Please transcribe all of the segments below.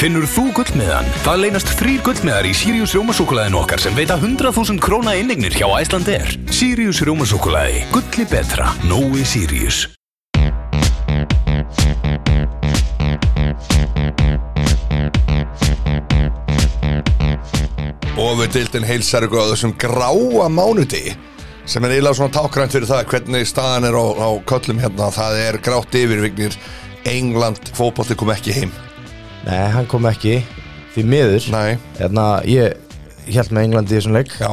Finnur þú gullmiðan? Það leynast þrýr gullmiðar í Sirius Rjómasúkulæðin okkar sem veita 100.000 króna innignir hjá Æslandir. Sirius Rjómasúkulæði. Gulli betra. Nói Sirius. Ofurdildin heilsar ykkur á þessum gráa mánuti sem er eiginlega svona tákrænt fyrir það hvernig staðan er á, á köllum hérna það er grátt yfirvignir England fótbolti kom ekki heim Nei, hann kom ekki Því miður Nei. Hérna, ég held með Englandi í þessum leik Já,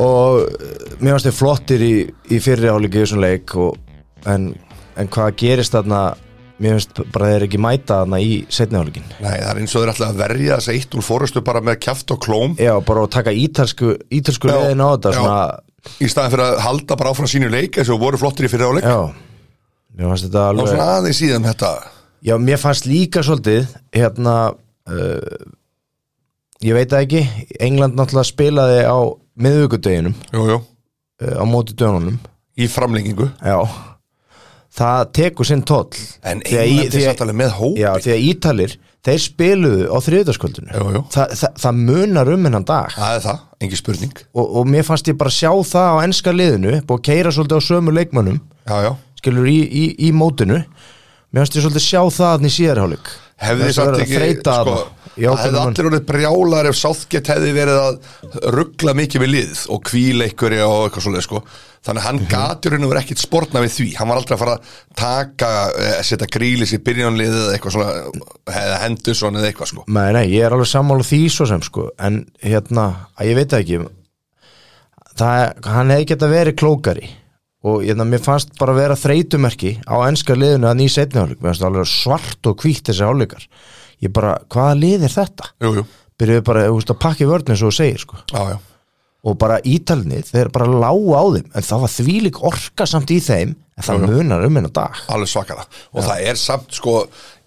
Og eh, mér varst þið flottir í, í fyrri álíki í þessum leik og, en, en hvað gerist þarna Mér finnst bara þeir ekki mæta þarna í setni álíkin nei, það er eins og þeir ætla að verja þess að eitt úr fórustu bara með kjaft og klóm Já, bara að taka ítalsku, ítalsku Já, leðin á þetta já. svona, í staðan fyrir að halda bara áfram sínu leik eins og voru flottir í fyrir áleik Já, mér fannst þetta og alveg svona aðeins síðan þetta Já, mér fannst líka svolítið hérna uh, ég veit það ekki England náttúrulega spilaði á miðvíkudeginum uh, Jú, jú, á móti dönunum í framlengingu Já Það tekur sinn tóll En Því að í- England því er að- sattalega með hópi Já, því að Ítalir, þeir spiluðu á þriðdagsköldinu Jú, jú. Þa, það, það munar um hennan dag Það er það, engi spurning og, og mér fannst ég bara sjá það á enska liðinu búið að keira svolítið á sömu leikmönnum Já, já skilur í, í, í mótinu mér fannst ég svolítið sjá það þannig síðarháleik hefði samt ekki þreita sko, það hefði allir orðið brjálar ef Southgate hefði verið að ruggla mikið við lið og kvíla ykkur og eitthvað svoleið sko þannig að hann gatur henni verið ekkit spórna við því hann var aldrei að fara að taka eh, setja grílis í byrjónliðið eða eitthvað svona eða Henderson eða eitthvað sko Nei, nei, ég er alveg sammála því svo sem sko En hérna, að ég veit það ekki það, Hann hefði geta verið klókari Og hérna, mér fannst bara vera þreytumerki Á enska liðinu að nýja setni hálfleik Mér fannst alveg svart og hvítt þessi hálfleikar Ég bara, hvaða lið er þetta? jú, jú. Byrjuðu bara, þú veist, að pakka í vörnum svo þú segir sko Já, já. Og bara ítalnið, þeir bara lágu á þeim En það var þvílík orka samt í þeim En það munar um hennar dag alveg svakara og það er samt sko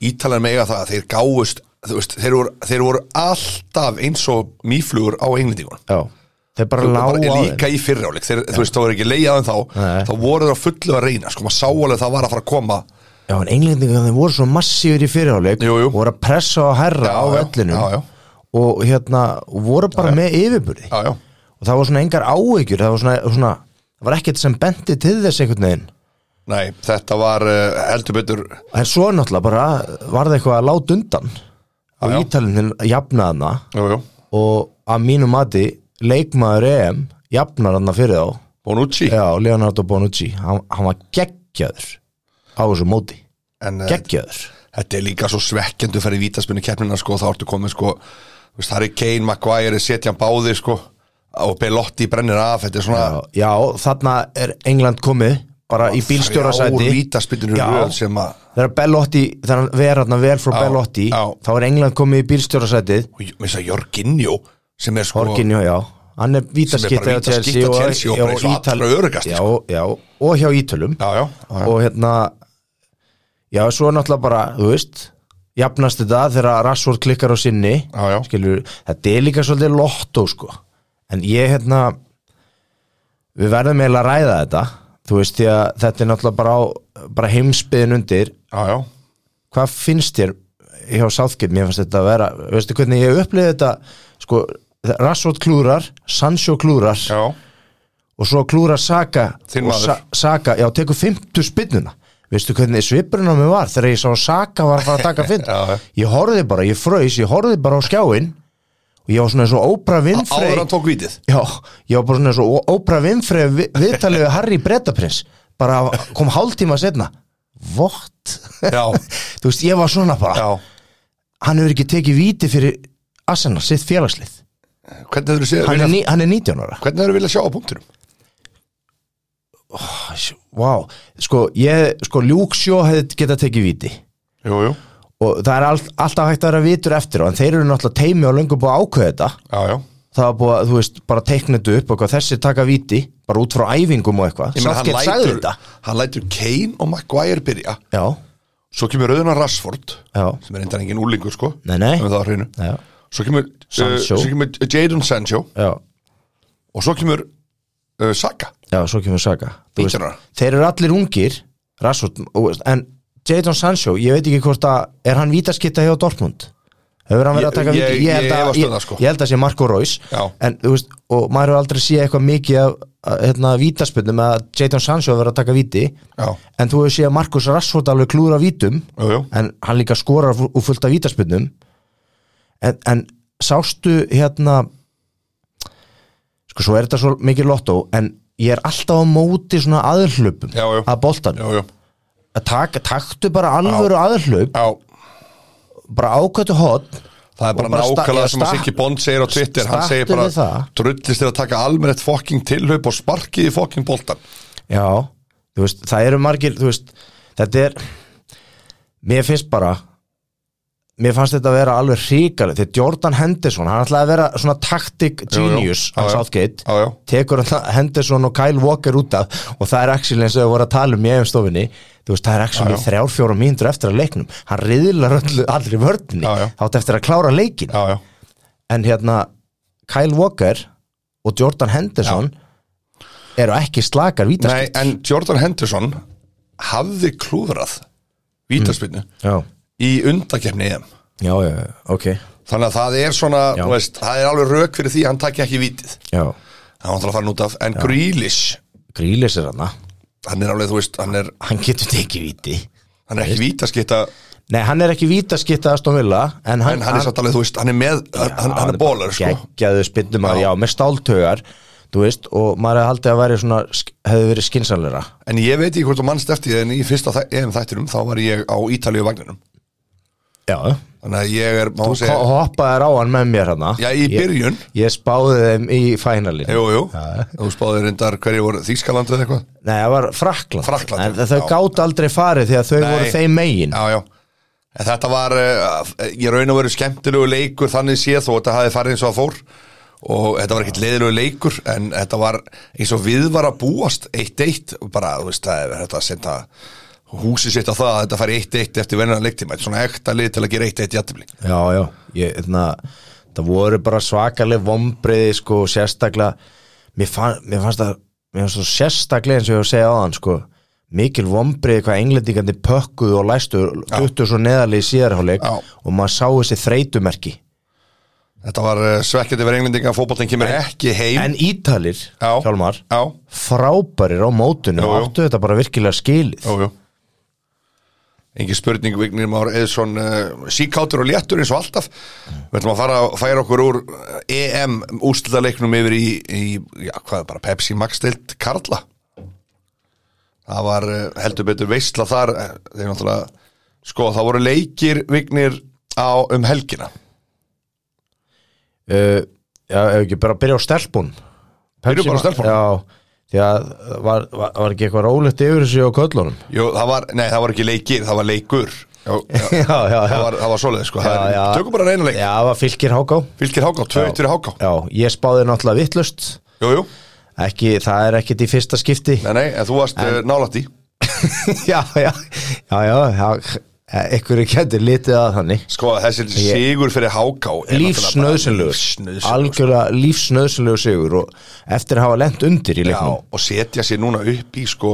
ítalan mega það að þeir gáust þú veist, þeir, voru, þeir voru alltaf eins og mýflugur á englendingunum Já, þeir bara bara lágu á þeim líka í fyrrjáleik þeir, þú veist, þá er ekki leiðan þá Nei. þá voru þeir á fullu að reyna, sko, maður sá alveg það var að fara að koma Já, en englendingar þeir voru svo massífur í fyrirháleik Jú, jú. voru að pressa og herra Já, á já, vellinum já, já. og hérna, og voru bara með yfirburði já, já, og það var svona engar áhyggjur það var svona, svona, það var ekkert sem bendi til þess einhvern veginn nei, þetta var uh, heldur betur, en svo náttúrulega bara var það eitthvað að láta undan og já. ítalinn jafnaði hana jú, jú, og að mínu mati leikmaður EM jafnar hana fyrir þá Bonucci já, Leonardo Bonucci, hann, hann var geggjaður á þessu móti en uh, geggjaður þetta er líka svo svekkjandi að fara í vítaspunni keppnina, sko, þá ertu komið, sko þú veist, það er Kane, Maguire, setja hann báði, sko og Belotti brennir af, þetta er svona Já, já, þarna er England komið bara í bílstjórasæti vítaspinnur Já. röð sem að þegar Bellotti, þegar hann verður þarna vel frá Já, Bellotti, já. þá er England komið í bílstjórasætið, og ég- með þess að Jorginjó sem er sko Orginjó, já hann er Sem er bara vítaskitt á vítaskytta Chelsea og, Chelsea og bara eins og Ítal- allra sko. öruggast, já, já, og hjá Ítölum já, já, já, já. og hérna já, svo er náttúrulega bara, þú veist jafnast þetta þegar Rashford klikkar á sinni Já, já. skilur, þetta er líka svolítið lottó sko, en ég hérna við verðum eiginlega að ræða þetta þú veist, því að þetta er náttúrulega bara, á, bara heimsbyðin undir já, já. hvað finnst þér hjá Southgate, mér fannst þetta að vera veistu hvernig ég upplýði þetta sko, Rashford klúrar, Sancho klúrar Já, og svo klúrar Saka Þinn og maður. Saka, já, tekur 50 spinnuna veistu hvernig svipurinn á mig var þegar ég sá Saka var að fara að taka Já, já. 50 ég horfði bara, ég fröys, ég horfði bara á skjáin og ég var svona eins og Oprah Winfrey áður hann tók vítið já, ég var bara svona eins og Oprah Winfrey vi- viðtalið við Harry Bretaprins bara kom hálftíma setna what? Já, þú veist, ég var svona bara já hann hefur ekki tekið víti fyrir Arsenal, sitt félagslið Hvernig hefur þú séð hann er, viljað- ní, hann er 19 ára Hvernig hefur þú viljað sjá á punktunum? Vá, sko, ég, sko Ljúksjó hefði getað tekið víti Jú, jú, og það er all, alltaf hægt að vera vitur eftir á en þeir eru náttúrulega teimi og löngu búið að ákveða þetta já, já það var búið að, þú veist, bara teiknendu upp og hvað þessi taka víti, bara út frá æfingum og eitthvað, Ég meina, hann Southgate sagði lætur, þetta hann lætur Kane og Maguire byrja Já, Svo kemur Rauðunar Rashford Já. sem er eindan engin úlingur sko Nei, nei. um það á hreinu. já, Svo kemur, uh, Sancho. svo kemur Jadon Sancho já, og svo kemur uh, Saka já, svo kemur Saga Þú 19 ára. þeir eru allir ungir Rassot, en Jadon Sancho, ég veit ekki hvort að er hann vítaskitta hjá Dortmund hefur hann verið að taka Ég- víti ég- ég að, efast um það, sko. ég held að sé Marco Reus Já. en, þú veist, og maður hefur aldrei séð eitthvað mikið af að, hérna, vítaspöndum að Jadon Sancho hefur verið að taka víti Já. en þú hefur séð að Marcus Rashford alveg klúra vítum Jú, jú. en hann líka skorar fú- úr fullt af vítaspöndum en, en sástu hérna sko svo er þetta svo mikið lottó en ég er alltaf á móti svona aðhlöpum Já, já. að boltan Jú, jú. að taka, taktu bara alvöru aðhlaup Já, bara ákvættu hot það er bara, nákvæmlega sem að Siggi Bond segir á Twitter hann segir bara, það, drullist þér að taka almennett fokking tilhaup og sparkið í fokking boltan já, þú veist, það eru margir þú veist, þetta er mér finnst bara mér fannst þetta að vera alveg ríkalið þegar Jordan Henderson, hann ætlaði að vera svona tactic jú. genius Já, á já. Southgate Já, já. tekur hann Henderson og Kyle Walker út af og það er actually eins og við vorum að tala um í efstofinni, þú veist, það er actually þrjár, fjóra mínútur eftir að leiknum, hann riðlar öllu, allri vörðinni, Já, já. átt eftir að klára leikin Já, já en hérna Kyle Walker og Jordan Henderson eru ekki slakar Nei, vítaskipt en Jordan Henderson hafði klúðrað vítaspinnu já. í undakefni EM já, já, já, ok Þannig að það er svona, Já. þú veist, það er alveg rauk fyrir því að hann takja ekki vítið já. Það var alltaf að fara út af, en Grealish Grílis er hana, hann er alveg, þú veist, hann er, hann getur tekið víti hann er ekki vítaskitta Nei, hann er ekki vítaskipt að Aston Villa en hann, en hann er satt alveg, þú veist, hann er með hann, hann, hann er bólar, sko geggjaðu spynnumar, Já. já, með stáltögar þú veist, og maður hefði haldið að væri svona sk- hefði verið skinsanleira En ég veit ekki hvort þú mannst eftir því, en í fyrsta þæ- EM þættinum þá var ég á Ítalíu vagninum já, Þannig að ég er, má þú segja hoppaðir á hann með mér hana Já, í byrjun. ég, ég spáði þeim í fænalinu Jú, jú, þú spáðir reyndar hverju voru Þýskaland eða eitthvað Nei, það var Frakland, Frakkland, En þau já. gátt aldrei farið því að þau voru þeim megin Já, já En Þetta var, eh, ég raun og veru skemmtilegu leikur þannig séð þó þetta hafi farið eins og það fór og þetta var ekkert leiðilegu leikur en þetta var eins og við var að búast 1-1 og bara, þú veist, það er þetta að senda húsið sitt á það að þetta fari 1-1 eftir vennan leiktíma, þetta er svona ekta lið til að gera 1-1 jættumli Já, já, ég, þarna, það voru bara svakaleg vombriði sko, sérstaklega mér, fann, mér fannst það mér fannst það sérstaklega eins og ég var að segja á hann sko, mikil vombriði hvað englendingandi pökkuðu og læstu duttu svo neðarlega í síðarháleik Já. og maður sá þessi þreytumerki Þetta var eh, svekkjandi verið englendinga fótboltinn kemur ekki heim en Ítalir, Já. Hjálmar Já, frábærir á mótinu Jú, og jú. áttu þetta bara virkilega skilið jú, jú Engi spurning, Vignir Már Eðsson uh, síkátur og léttur eins og alltaf Við ætlum að fara að færa okkur úr eh, EM úrslutaleiknum yfir í, í já, hvað er bara, Pepsi Max deilt Karla Það var eh, heldur betur veistla þar eh, þegar náttúrulega, sko, það voru leikir Vignir á um helgina uh, já, ef ekki bara byrja á stelpun Byrjum Pepsi- bara á stelpunum. já, því að var, var, var ekki eitthvað rólegt yfir þessu á köllunum Jú, það var, nei, það var ekki leikir, það var leikur Já, já, já, já, já, það var, það var svoleið, sko já, já. Tökum bara reyna leik, já, það var fylgir háká fylgir háká, 2-1 fyrir háká já, ég spáði náttúrulega vittlust Jú, jú, ekki, það er ekkit í fyrsta skipti nei, nei, en þú varst eh, en... nálætt í já, já, já, já, já einhverju kættir litið að þannig Sko, þessi sigur fyrir háká er náttúrulega bara lífsnöðsynlegur, Lífsnauðsynlegur sko. algjörlega lífsnöðsynlegur sigur og eftir að hafa lent undir í Já, leiknum og setja sér núna upp í, sko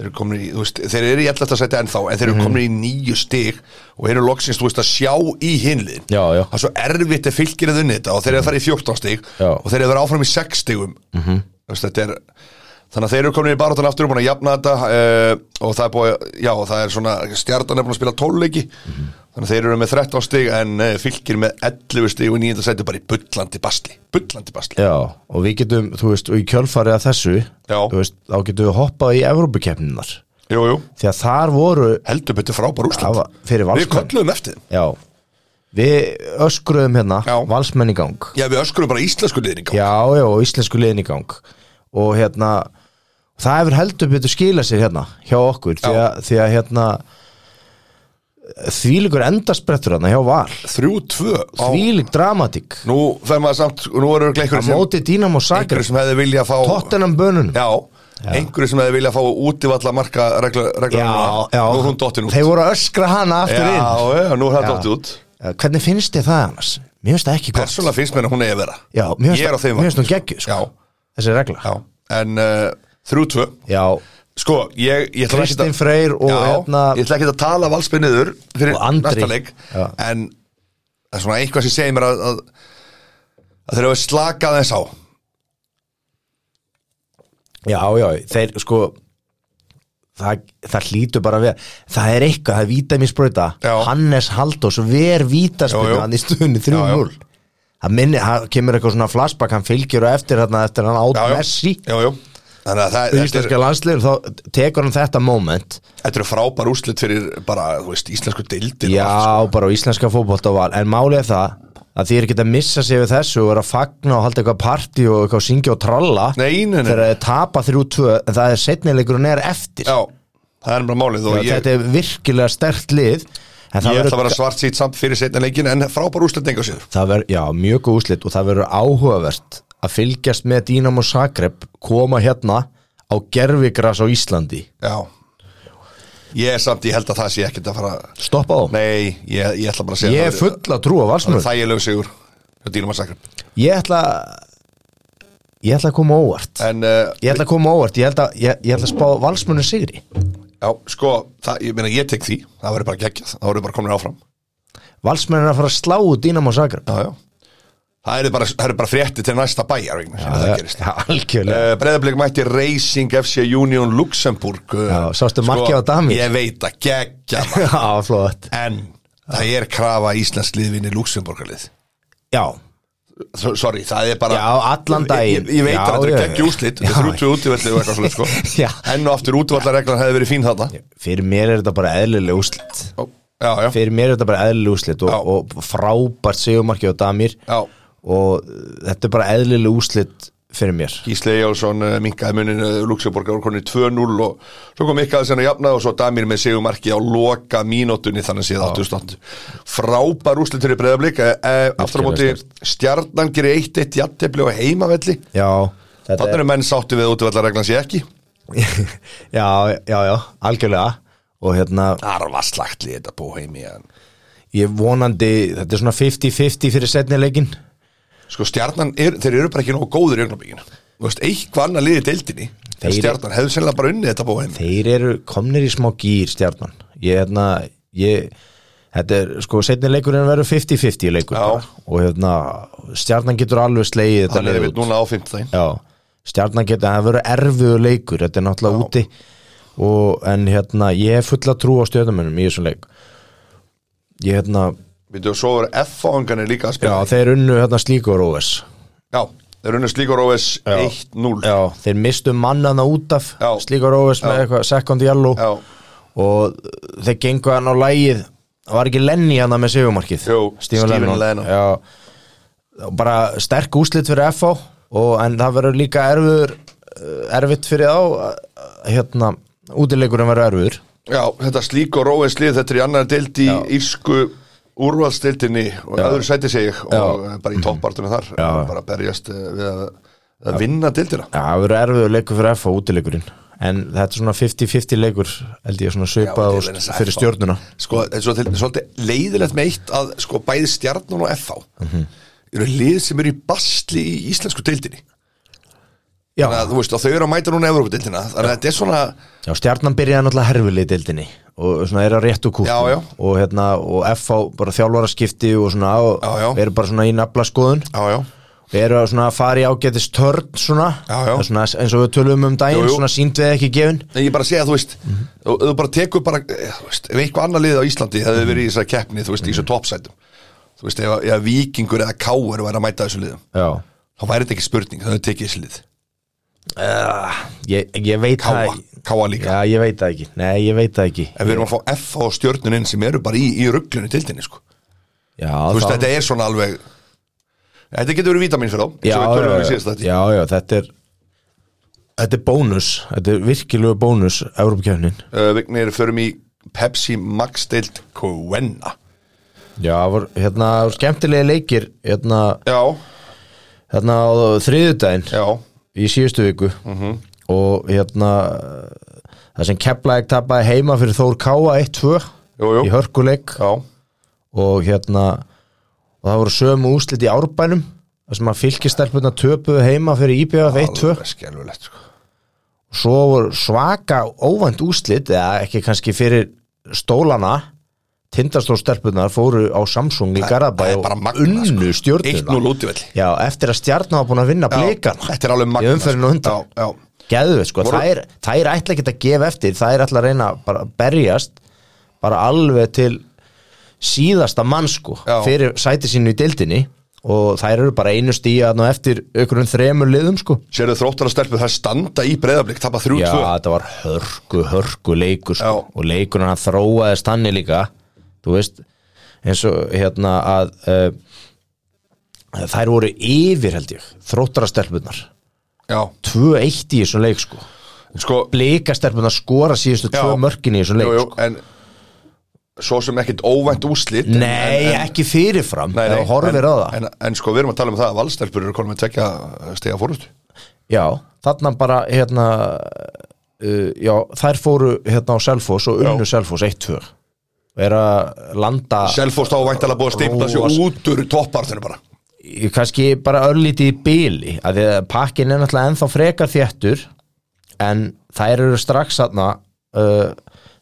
Þeir eru komin í, þú veist, þeir eru í alltaf að setja ennþá En þeir eru Mhm. mm komin í nýju stig Og eru loksins, þú veist, að sjá í hinliðin Já, já. Það er svo erfitt að fylgir að unni þetta Og þeir eru að fara í 14 stig Já. Mhm. Og þeir eru að vera áfram í 6 stigum -hmm. veist, Þetta er Þannig að þeir eru komin í barátan aftur og búin að jafna þetta uh, og það er búin að, já, það er svona stjartan er búin að spila tólleiki Mhm. þannig að þeir eru með 13 stig en uh, fylgir með 11 stig og nýjönda sæti bara í bullandi basli, bullandi basli Já, og við getum, þú veist, og í kjölfarið að þessu, Já. þú veist, þá getum við hoppað í Evrópukeppninar, Jú, jú, því að þar voru heldur betur frábær Það úrslit var- fyrir Við valsmenn. köllum eftir þeim Já, við öskruðum hérna Já. valsmenn í gang, Já, við öskurum bara íslensku liðin í gang já, já, og íslensku liðin í gang og hérna það hefur heldur betur skila sér hérna hjá okkur, því Já. að, því að hérna þvílíkur endasprettur hérna hjá Val 3-2 á- þvílík dramatík, Nú fer maður samt, nú eru ekki einhverjum að sem, móti Dínamo einhverjum Sagrins, sem hefði viljað fá Tottenham bönunum Já, einhverjum sem hefði viljað fá útivalla marka regla, regla Já, já, Nú er hún dottin út þeir voru að öskra hana aftur inn Já, já, nú er það Já. dottin út Eh, Hvernig finnst þið það annars? Mér finnst það ekki gott Persónulega finnst mér að hún eigi að vera Já, mér Ég er á finnst sko. þeim það mér finnst vagni, það geggju sko. Já, Þessi regla já En uh, 3-2 Já, Sko, ég, ég ætla ekki Kristinn Freyr og já, hérna Ég ætla ekki að tala valsbyrniður fyrir Og Andri. næsta leik Já. En það er svona eitthvað sem segir mér að, að, að þeir hafa slakað þess á Já, já, þeir sko það, það hlýtur bara að vera það er eitthvað, það er vítaminsbrauta Já. Hannes Haldós, ver Já, já. vítaspinna hann í stöðunni 3-0 það minni, það kemur eitthvað svona flashback hann fylgjur og eftir þarna eftir hann át Já, já. Messi Já, já Þannig að það, í þetta, íslenska er, landsliður, þá tekur hann þetta moment þetta eru frábær úrslit fyrir bara, þú veist, íslensku deildin og allt, Já, bara á íslenska fótbolta var En málið er það að því er ekki að missa sig við þessu og vera að fagna og halda eitthvað partí og eitthvað syngja og tralla sko. Nei, nei, nei þegar þeir tapa 3-2 en það er setnilegurinn er eftir Já, það er bara málið og Já, ég, Þetta er virkilega stert lið ég en það ætla að vera verður svart sítt samt fyrir setna leikin en frábær úrslit enga síður það ver, já, mjög góð úslit og það verður áhugavert að fylgjast með Dínamo Zagreb koma hérna á gerfigras á Íslandi Já Ég er samt, ég held að það sé ekkert að fara Stoppa þá Nei, ég, ég ætla bara að segja Ég er það- full að trúa valsmur Það er lög sigur hjá Dínum að Zagreb Ég ætla ég ætla að koma á óvart En uh, Ég ætla að koma á óvart, ég ætla, ég, ég ætla að spá valsmunum sigri já, sko, það, ég meina ég tek því Það verður bara geggjað, það verður bara komin áfram Valsmunum er að fara að slá út Dínamo Zagreb Já, já Það eru bara, það eru bara frétti til næsta bæjar vegna, sem það gerist Já, algjörlega uh, Breiðarblik mætti Racing FC Union Luxemburg uh, Já, sástu markið á Damir? Ég veit að geggja maður. Já, flott En það er krafa Íslands liðvinni Luxemburgarlið Já, S- Sorry, það er bara Já, allan Ég, daginn. ég, ég veit Já, að þetta já, er já. geggja úslit Já. Þetta er út við útivallu og eitthvað svona sko. Já. Enn og aftur útivallarreglan hefði verið fín þarna fyrir mér er þetta bara eðlileg úslit Ó, Já, já, fyrir mér er þetta bara eðlileg úslit Já. og, og frábært segumarki á Damir já. og uh, þetta er bara eðlileg úslit fyrir mér Gísli eh, Jálsson minkaði munin Luxemburgar voru konið 2-0 og svo kom Mikael sem að jafna og svo Damir með sigumarki á loka mínútunni þannig séð 88 frábær úslit fyrir breyðablík e, e, aftur á móti sterkt. stjarnan gerir 1-1 jattefli á heimavelli já, þetta þannig er, er menn sáttu við útvallarreglan sé ekki já, já, já, algjörlega og hérna, arva slagtli þetta bó heimi en. ég vonandi þetta er svona 50-50 fyrir setni leikin sko stjarnan, er, þeir eru bara ekki nógu góður í augnabíkinu þú veist, eitthvað annað liðið deildinni en Þeir- stjarnan hefðu sennilega bara unnið þetta bó heimi þeir eru komnir í smá gýr stjarnan ég hérna, ég Þetta er, sko, setni leikurinn verður 50-50 leikur Já. bara. og hérna, stjarnan getur alveg slegið þetta þannig lið er út. við núna á 15 Já, stjarnan geta, það verður erfiður leikur, þetta er náttúrulega úti og, en hérna, ég hef fulla trú á stjörnumönum í þessum leik ég hérna, við þú svo verður F-fáingarnir líka að já, spila þeir unnu hérna slíkur óves, Já, þeir unnu slíkur óvis 1-0 já, þeir mistu mannana út af Já. slíkur óves með Já. eitthvað second yellow Já, og þeir gengu hann á lægið það var ekki Lenny hann með sigumarkið Jú, Stephen Lennon. Já, og bara sterk úslit fyrir FH og, en það verður líka erfur eh, erfitt fyrir þá eh, hérna, útileikurinn verður erfur já þetta slíkur óvis lið Þetta er í annar deild í írsku úrvalsdeildinni og öðru sæti segi ég og Já. Mhm. bara í toppartunum þar Já. bara berjast eh, við að, að vinna deildina Já, það verður erfiður leikur fyrir FH útileikurinn en þetta er svona 50-50 leikur held ég svona Já, svipað og til þess st- að fyrir FH. stjórnuna Sko, þetta er svo- þetta er svolítið leiðilegt meitt að sko bæði stjarnan og FH Mhm. eru lið sem eru í basli í íslensku deildinni Já, þannig að þú veist að þau eru að mæta núna Evrópudeildina þannig að þetta er svona já stjarnan byrjaði náttúrulega herfilið í deildinni og svona er að réttu kútt Já, já. og hérna og FH bara þjálfaraskipti og svona og Já, já. eru bara svona í nafla skoðun Já, já, Við erum svona að fara í ágætis törn svona, Já, já. Það er svona eins og við tölum um daginn Jú, jú. svona sínd við ekki gefin En ég bara segja, þú veist, þú, þú bara tekur bara, eh, þú veist, ef eitthvað annar lið á Íslandi hefði Mhm. verið í þessari keppni, þú veist, í þessu toppsætum, þú veist, ef, ef vikingur eða káur væri að mæta þessu liðum, Já þá væri þetta ekki spurning, þannig að tekið þessu lið. Ég, ég veit Káa, það káa líka. Já, ég veit það ekki, nei, ég veit það ekki En við erum að fá F á stjörnuninn sem eru bara í, í rugglunni til þinni, sko. Já, Þú veist, það- þetta er svona alveg, þetta getur verið vítamin fyrir þá, já, eins og við tölum um í já, síðast þetta. já, já, þetta er Þetta er bónus, þetta er virkilegu bónus Európa-kefnin Uh, Vignir, förum í Pepsi Max deild Kvenna. Já, það var, hérna, skemmtilegi leikir hérna, Já, hérna á þriðudaginn já, í síðustu viku Mhm. og hérna það sem Keflæk tapaði heima fyrir Þór Káa 1-2 Jú, jú. í hörkuleik já, og hérna og það voru sömu úslit í árbænum það sem að fylgistelpuna töpuðu heima fyrir IBF 1-2 alveg skelfulegt, sko. svo voru svaka óvænt úslit eða ekki kannski fyrir stólana tindastólstelpunar fóru á Samsung í Garabæ það er og bara magnað, unnu sko. stjórnuna 1-0 útivelli. já, eftir að stjarnan var búin að vinna Já, blikana þetta er alveg í magnað, umferðinu sko. undan Já, já. Geðveikt, sko, Voru- það er, það er ætla ekki að gefa eftir það er ætla að reyna að bara berjast bara alveg til síðasta mann sko Já. fyrir sæti sínu í deildinni og þær eru bara einu stíja þarna á eftir einhverjum þremur liðum sko Sérðu þróttara stelpu það standa í breyðablík Tappa 3-2 Já, þetta var hörku, hörku leikur sko. Já. og leikurinn hann þróaðist þannig líka þú veist eins og hérna að uh, þær voru yfir held ég þróttarastelpunar Já, 2-1 í þessum leik sko sko blikastelpunar skora síðustu Já. tvö mörkin í þessum leik jú, jú, sko. En svo sem ekkit óvænt úslit Nei, en, en, ekki fyrirfram Nei, nei, ef þú horfir en, á það en, en sko, við erum að tala um það að valstelpur eru konum að tekja stiga fórust Já, þarna bara hérna uh, já, þær fóru hérna á Selfoss og unnu Selfoss 1-2 og er að landa Selfoss þá væntalega búið að stimpla Róas. sig út úr toppartinu bara í- kannski bara örlítið í bíli að því að pakkin er náttúrulega ennþá frekar þéttur en þær eru strax þarna uh,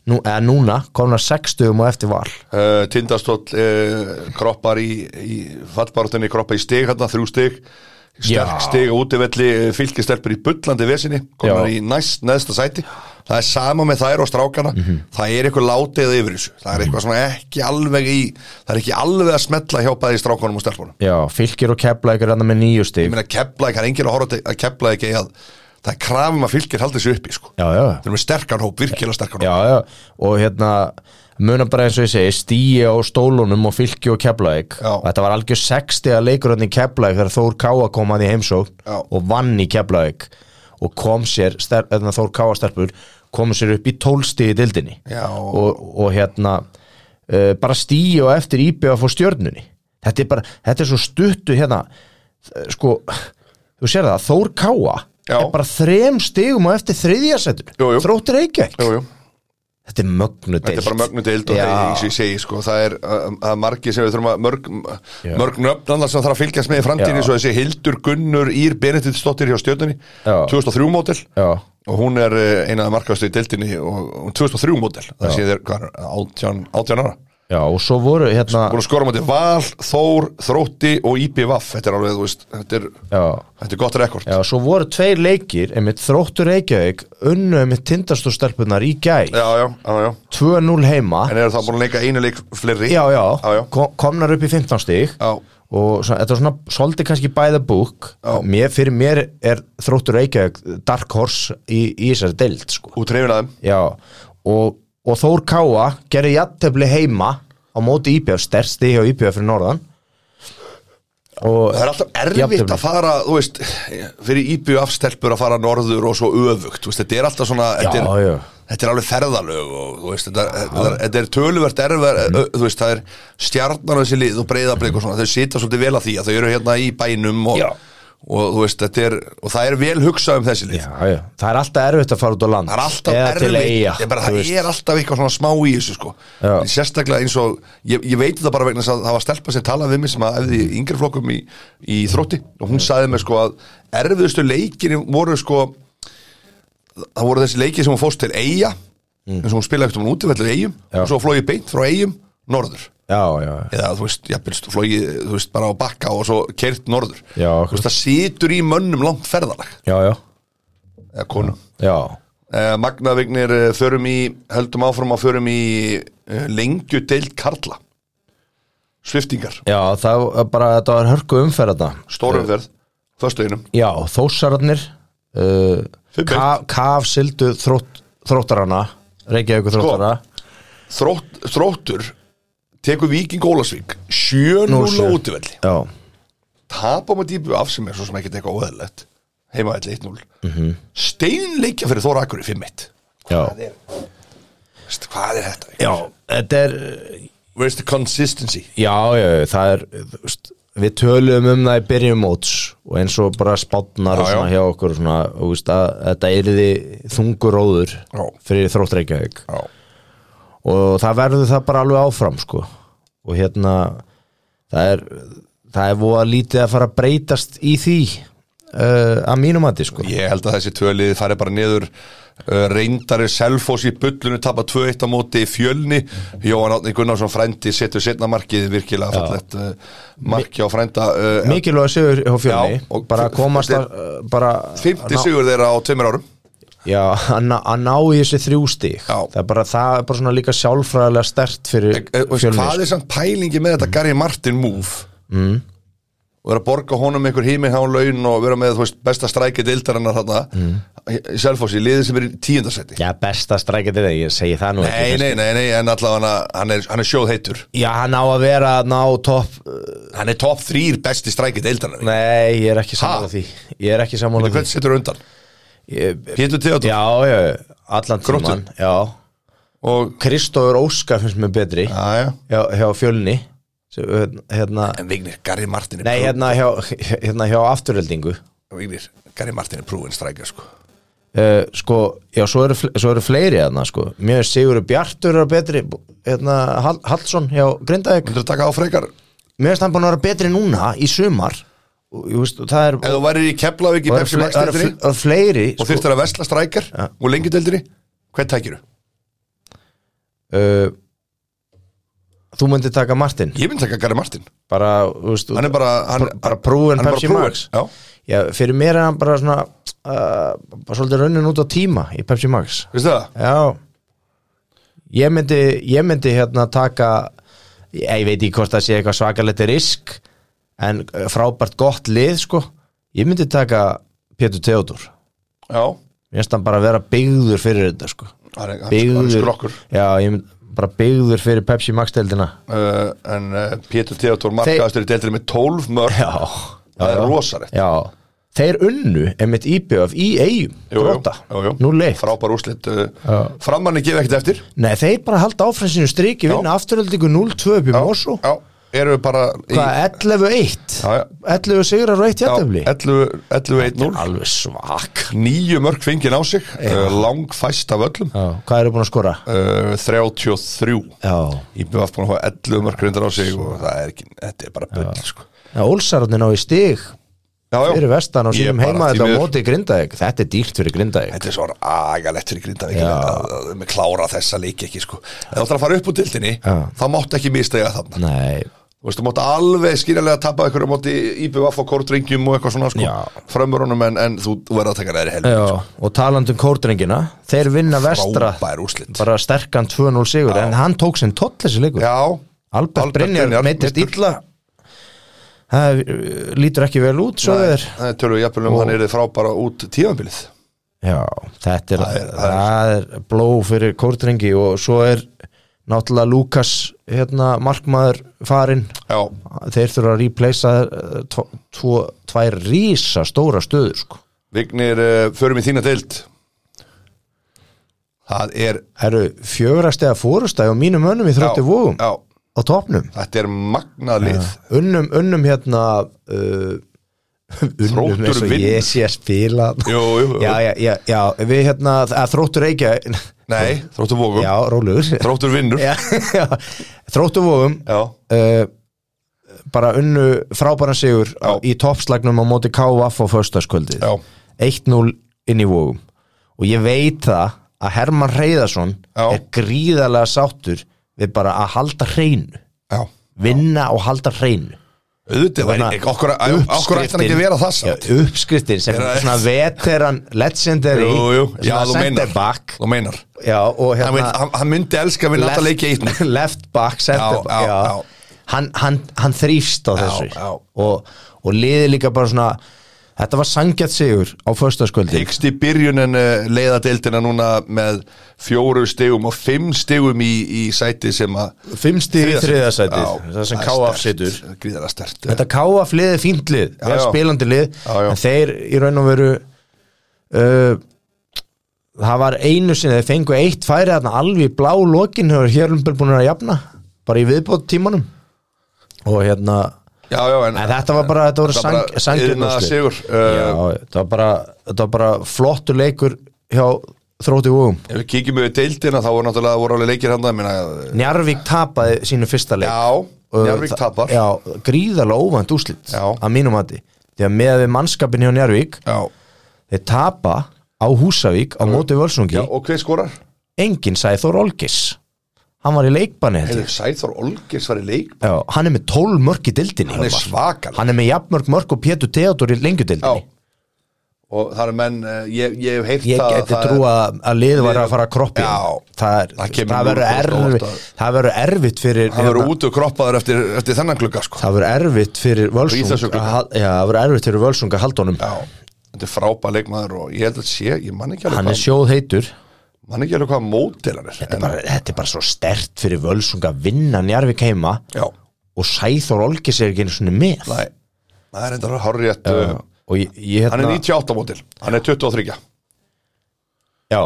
nú, eða núna komna 60 og eftir val uh, Tindastóll uh, kroppar í, í fallbarutinni, kroppar í stig hérna, þrjú stig Já. sterk stig á útivelli, fylgistelpur í bullandi vesinni, komar í næst neðsta sæti, það er sama með þær og strákana það er eitthvað látið yfir þessu það er eitthvað svona ekki alveg í það er ekki alveg að smetla hjá bæði strákanum og stelpunum Já, fylgir og kepla ykkur hann með nýju ég stig meina kepla, það er enginn að horfa til- að kepla ekki að það er krafum að fylgir haldi þessu uppi sko. Já, já, þeir eru með sterkan hóp, virkilega sterkan hóp já, já og hérna muna bara eins og ég segi stíi á stólunum og fylki og keflaðik Já. þetta var algjör 60 að leikur hann í keflaðik þegar Þór Káa kom hann í heimsókn Já. og vann í keflaðik og kom sér, ster, eðna, Þór Káa stelpur kom sér upp í tólsti í dildinni Já. og, og hérna uh, bara stíi og eftir íbjöð að fór stjörnunni þetta er bara, þetta er svo stuttu hérna eh, sko, þú sér það Þór Káa Já. er bara þrem stigum og eftir þriðjasettur Jú, jú. þróttir Reykjavík jú, jú. Þetta er mögnu deilt Þetta er bara mögnu deild og Já. það er eins og ég segi sko, það er um, að margi sem við þurfum að mörg, Já. mörg nöfn annars sem þarf að fylgjast með í framtíðinni Já. svo þessi Hildur Gunnur Ír Benediktsdóttir hjá stjörnunni Já. 2003 mótel Já, og hún er eh, eina af markastu í deildinni og hún er 2003 mótel það sé þér hvað, er, 18, 18 ára já, og svo voru hérna búin að skora móti Val, Þór, Þrótti og IPVaf þetta er alveg, þú veist, þetta er, já, þetta er gott rekord já, svo voru tveir leikir einmitt þróttur Reykjavík unnu einmitt tindastúrstelpunar í gæ já, já, já, já. 2-0 heima en eru það búin að leika einu leik fleiri Já, já, Já, já. Ko komnar upp í 15 stig Já. og svona, þetta er svona svolítið kannski by the book Já. mér, fyrir mér er þróttur Reykjavík dark horse í, í þessari deild sko. út reyfin að þeim Já, og, og Þór Káa gerir jafntefli heima á móti IPF, stærsti hjá IPF fyrir norðan og Það er alltaf erfitt Jafntefli. að fara, þú veist, fyrir íbjöf afstelpur að fara norður og svo öfugt, þú veist, þetta er alltaf svona, þetta er, já. Þetta er alveg ferðalög og þú veist, þetta, þetta, er- þetta er töluvert erfið, Mhm. þú veist, það er stjarnar á þessi lið og breyðablið og svona, þau sita svolítið vel að því að þau eru hérna í bænum og, Já. og þú veist, þetta er, og það er vel hugsað um þessi lið. Já, já. Það er alltaf erfitt að fara út á land Það er alltaf Eða erfitt, til eiga ég bara, það er alltaf eitthvað svona smá í þessu sko Já. Sérstaklega eins og, ég, ég veit þetta bara vegna þess að það var stelpa sem talaði við mig sem að efði yngri flokkum í, í þrótti og hún sagði mig sko að erfiðustu leikir voru sko það voru þessi leikir sem hún fórst til eiga eins og hún spilaði ekkert um hún útivellu eigum Mm. Já. og svo flóið beint frá eigum norður Já, já, já. eða þú veist, jafnvelst, flóið, þú veist, bara á bakka og svo kert norður Já, þú veist, það situr í mönnum langt ferðalag já, já, eða konum já. Eh, Magna Vignir eh, förum í, höldum áfram að förum í eh, lengju deild Karla Sviftingar, já það er bara þetta var hörku umferðna stórumferð Föstuðinum, Já, þósararnir uh, Fimm ka, Kaf sildu þrótt, þróttarana Reykjavíku þróttara Þrótt, þróttur tekur Víking Ólasvík 7-0 Nú sé. útivelli Já, tapa maður dýpu af sem er svo sem ekkert eitthvað óðalett heimaðalli 1-0 mm -hmm. steinleikja fyrir Þóra Akurri 5-1 já, Hvað er- Veistu, hvað er þetta? já Þetta er uh, Where's the consistency? Já, já, já, það er þú veist, við töluðum um það í byrjum móts og eins og bara spátnar og Já, já. svona hjá okkur og svona, og veist, að, þetta yrði þungur óður Já. fyrir þróttreikjavík Já, og það verður það bara alveg áfram sko. og hérna það er, það er voða lítið að fara að breytast í því uh, að mínum mati sko Ég held að þessi tvölið fari bara niður uh, reyndari selfos í bullunu tapa 2-1 á móti í fjölni Jóhann Átni Gunnarsson frændi setur setna markið virkilega fallegt uh, marki á frænda uh, mikilvæg sigur hjá fjölni Já, og f- bara að komast þetta að uh, bara 50 ná- sigur þeirra á tveimur árum já, að ná- að ná í þessi þrjú stig Já. það er bara, það er bara svona líka sjálfræðilega stert fyrir Eh, og veist, fjölni Hvað sko. er samt pælingi með þetta Gary Martin move mm. og er að borga honum einhver híminhán laun og vera með þú veist, besta strækið deildarinnar þarna mm. selfos í liðið sem er í tíundarsæti já, besta strækjandi þegar ég segi það nú Nei, ekki nei, nei, nei, en allavega hann er, hann er sjóð heitur já, hann á að vera að ná topp Hann er top 3 besti strækið deildarinnar nei, ég er ekki sammála Ha? því ég er ekki Veitu sammála því hvernig setur undan? Ég- Pétur Theodor já, já, allan Gróttu? tíman já, og Kristófur Óska finnst mér betri já, já. hjá, hjá fjölni Sem, hérna, En Vignir, Gary Martin er nei, prú- hérna hjá, hérna hjá afturöldingu Vignir, Gary Martin er prúin strækja sko. uh, sko, já, svo eru, fle- svo eru fleiri þarna, sko, mér er Sigurður Bjartur er betri, hérna, Hall, Hallsson hjá Grindavík, Vildur taka á frekar Ef mér er hann búin að vera betri núna í sumar, og, ég veist, og það er þú værir í Keflavík í og eru Pepsi fle- Max það eru deildri fle- eru fleiri, sko. og þyrftir að vesla strækjar Ja. og lengi deildri hvern tækiru? uh, þú myndir taka Martin, Ég myndi taka Gary Martin bara, þú veist, Hann er bara hann, Bara- bara prúinn hann er bara Pepsi prúinn. Max. Já, já, fyrir mér er hann bara svona, uh, bara svolítið raunin út á tíma í Pepsi Max, veistu það? Já Ég myndi, ég myndi hérna taka ég, ég veit ekki hvort það sé eitthvað svakalegt risk en eh, frábært gott lið sko Ég myndi taka Pétur Theodor Já, Mér finnst hann bara að vera byggður fyrir þetta sko hann er, hann hann er Byggður skrokkur Já, ég myndi bara byggður fyrir Pepsi Max-deldina uh, En uh, Pétur Theodor markaðastur í deildri með 12 mörg Já Það er rosalegt Já Þeir unnu einmitt íbjöf í eigum Jú, jú, Gróta jú, jú. Nú leitt Frábær úrslit uh, Framanni gefa ekkert eftir Nei, þeir bara halda áfram sínu striki vinna afturöldingu 0-2 upp í Mosó Já, eru við bara í- Hvað, 11-1? Já, já. 11 sigrar og 1 Já, jættefli? 11 11-1-0 Alveg svak Nýju mörg fengið á sig uh, Lang fæst af öllum já. Hvað eru búin að skora? uh, 33 Já Íbjöf búin að hafa 11 mörg reyndar á sig Og það er ekki, þetta er bara bull sko. Já, Olsararnir ná í stig já, já. fyrir vestan á Ég sínum bara, heima því þetta á miður. móti grindaðeg Þetta er dýrt fyrir grindaðeg Þetta er svo agalett fyrir Grindavík Já. að- að- að- Með klára þessa leik ekki sko. Ef þú ætlar að fara upp úr dildinni Já. Þá máttu ekki mistega þarna Nei, Þú veist, þú mátt alveg skýrlega tapa ykkur Mátti íbjöf á kortringjum og eitthvað svona sko. Já. Frömmurunum en, en þú verður að taka neðri helmi já, og talandi um kórdrengina Þeir vinna vestra Frábær úrslit Bara sterkan 2-0 sigur En hann tók sinn tottleysi leikur Já, Albert, Albert Brynjar Brynjar meittist meiddur. illa Það eh, lítur ekki vel út svo Nei, er Það er tölvöðu jafnvel um hann er frábara út tímanbilið Já, þetta er, Það er- það er- það er, bló fyrir kórdrengi og svo er náttúrulega Lukas hérna, markmaður farinn Já, þeir þurfa að replacea eh, tvo, tvo, tvær rísa stóra stöður sko. Vignir, uh, förum í þína deild Það er Herru, fjögrastega fórustæði og mínum önnum í þrjótti vógum já, á topnum Þetta er magnalið unnum, unnum hérna uh, unnum Þróttur eins og vinnur. ég sé að spila Jú, jú, jú. já, já, já, já, við hérna að þróttur reykja Nei, þróttur vókum já, rólegur Þróttur vinnur Já, Já, já. þróttu vóum uh, bara unnu frábæran sigur Já. í toppslagnum á móti KVF á föstaskvöldið Já. 1-0 inn í vóum og ég veit það að Herman Reyðarsson Já. er gríðarlega sáttur við bara að halda hreinu já vinna og halda hreinu Auðvitað, væri- ekki- okkur æ, okkur ætti hann ekki að vera það já, samt uppskriftin sem Vera- svona veteran legendary Jú, jú, já, svona þú center meinar back Þú meinar já, og Hann, hérna veit, hann, hann myndi elska að vinna alltaf leikja eitt left, left back Já, center back, já, já. já. Hann, hann, hann þrýfst á þessu já. og, og liði líka bara svona þetta var sangjart sigur á föstaskvöldi Hyggst í byrjunin uh, leiða deildina núna með fjóru stegum og fimm stegum í, í sæti sem að fimm stig í þriðasætið Já, það sem er KF sterkt, situr Gríðarlega stert þetta KF liði er fínt lið Já, já, já. spilandi lið Já, já. en þeir í raun og veru uh, það var einu sinni þeir fengu eitt færi þarna alveg í blá lokin hefur Hjörlumbel búin að jafna bara í viðbótt tímanum og hérna Já, já, en, En þetta var bara, þetta voru Þetta var bara Eh, sangjum iðnaðar sigur. Já, þetta var bara, þetta var bara flottu leikur hjá þrótti vóum ef við kíkjum yfir deildina þá voru náttúrulega voru alveg leikir handa minna, Njarvík tapaði sínu fyrsta leik Já, Og Njárvík það- eh, tapar Já, gríðarlega óvænt úslit Já. að mínum hætti því að með við mannskapin hjá Njárvík Já, þeir tapa á Húsavík á móti já völsungi, og hver skorar? enginn sagði Þór Olgis hann var í leikbanni held ég. Heiðu Sæþór Olgis var í leik Já, hann er með 12 mörg í dildinni Hann er svakal. hann er með jafnmörg mörg og Pétur Teodor í lengjudildinni Já Og það er menn, eh, ég, ég hef heyrt ég það geti það er- trú að, að lið var að fara að kroppi Já. það, er- Það kemur það verður 0,8. erfitt það verður erfitt fyrir Það verður hérna, út og kroppaður eftir, eftir þennan glugga sko. það verður erfitt fyrir Og í völsung þessu glugga. að hal- já, það verður erfitt fyrir völsung að halda honum Já, þetta er frábæð leikmaður og ég held að sé, ég man ekki alveg hann er hvað sjóð heitur man ekki alveg hvað mótil hann er þetta er, bara, þetta er bara svo stert fyrir völsung að vinna Njarvík heima Já, og Sæþór Olgis er ekki einu svona með næ, það er enda horrið og ég, ég uh, Hann hérna er 98 mótil, hann er 23 já,